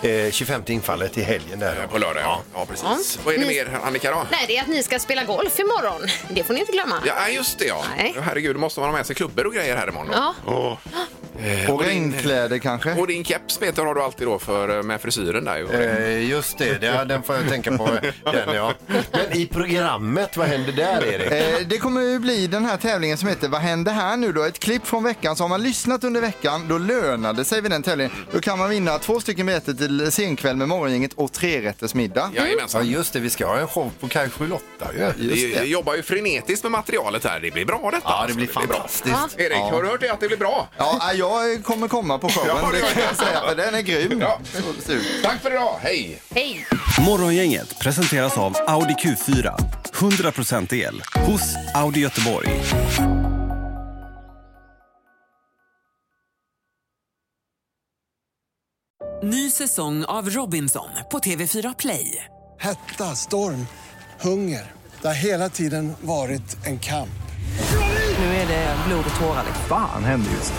Speaker 3: eh, eh, 25 infaller i helgen där.
Speaker 2: På lördag ja. Ja, precis. Vad är det
Speaker 4: Ni-
Speaker 2: mer Annika då?
Speaker 4: Nej, det är att ni ska spela golf imorgon. Det får ni inte glömma.
Speaker 2: Ja, just det ja. Herregud, då måste man ha med sig klubbor och grejer här imorgon då.
Speaker 4: Ja.
Speaker 2: Åh. Eh,
Speaker 5: Och regnkläder kanske?
Speaker 2: Och din keps Peter har du alltid då för, eh, med frisyren där. ju.
Speaker 3: Eh, just det, det ja, den får jag tänka på. Den, ja. Men i programmet, vad händer där Erik?
Speaker 5: Eh, det kommer ju bli den här tävlingen som heter Vad händer här nu då? Ett klipp från veckan. Så har man lyssnat under veckan, då lönar det sig vid den tävlingen. Då kan man vinna två stycken biljetter till senkväll med Morgongänget och trerättersmiddag.
Speaker 3: Ja, just det, vi ska ha en show på kanske Lotta ju.
Speaker 2: Vi vi jobbar ju frenetiskt med materialet här. Det blir bra detta. Ja, det blir fantastiskt. Erik,
Speaker 5: Ja.
Speaker 2: har du hört det att det blir bra?
Speaker 5: Ja, jag kommer komma på showen,
Speaker 2: Ja, det
Speaker 5: det
Speaker 2: gör
Speaker 5: kan
Speaker 2: det.
Speaker 5: jag säga, för den är grym.
Speaker 2: Ja.
Speaker 5: Så det ser ut.
Speaker 2: Tack för idag. Hej!
Speaker 4: Hej!
Speaker 13: Morgongänget presenteras av Audi Q4. 100% el hos Audi Göteborg.
Speaker 14: Ny säsong av Robinson på TV4 Play.
Speaker 15: Hetta, storm, hunger. Det har hela tiden varit en kamp.
Speaker 14: Nu är det blod och tårar.
Speaker 16: Fan händer just nu.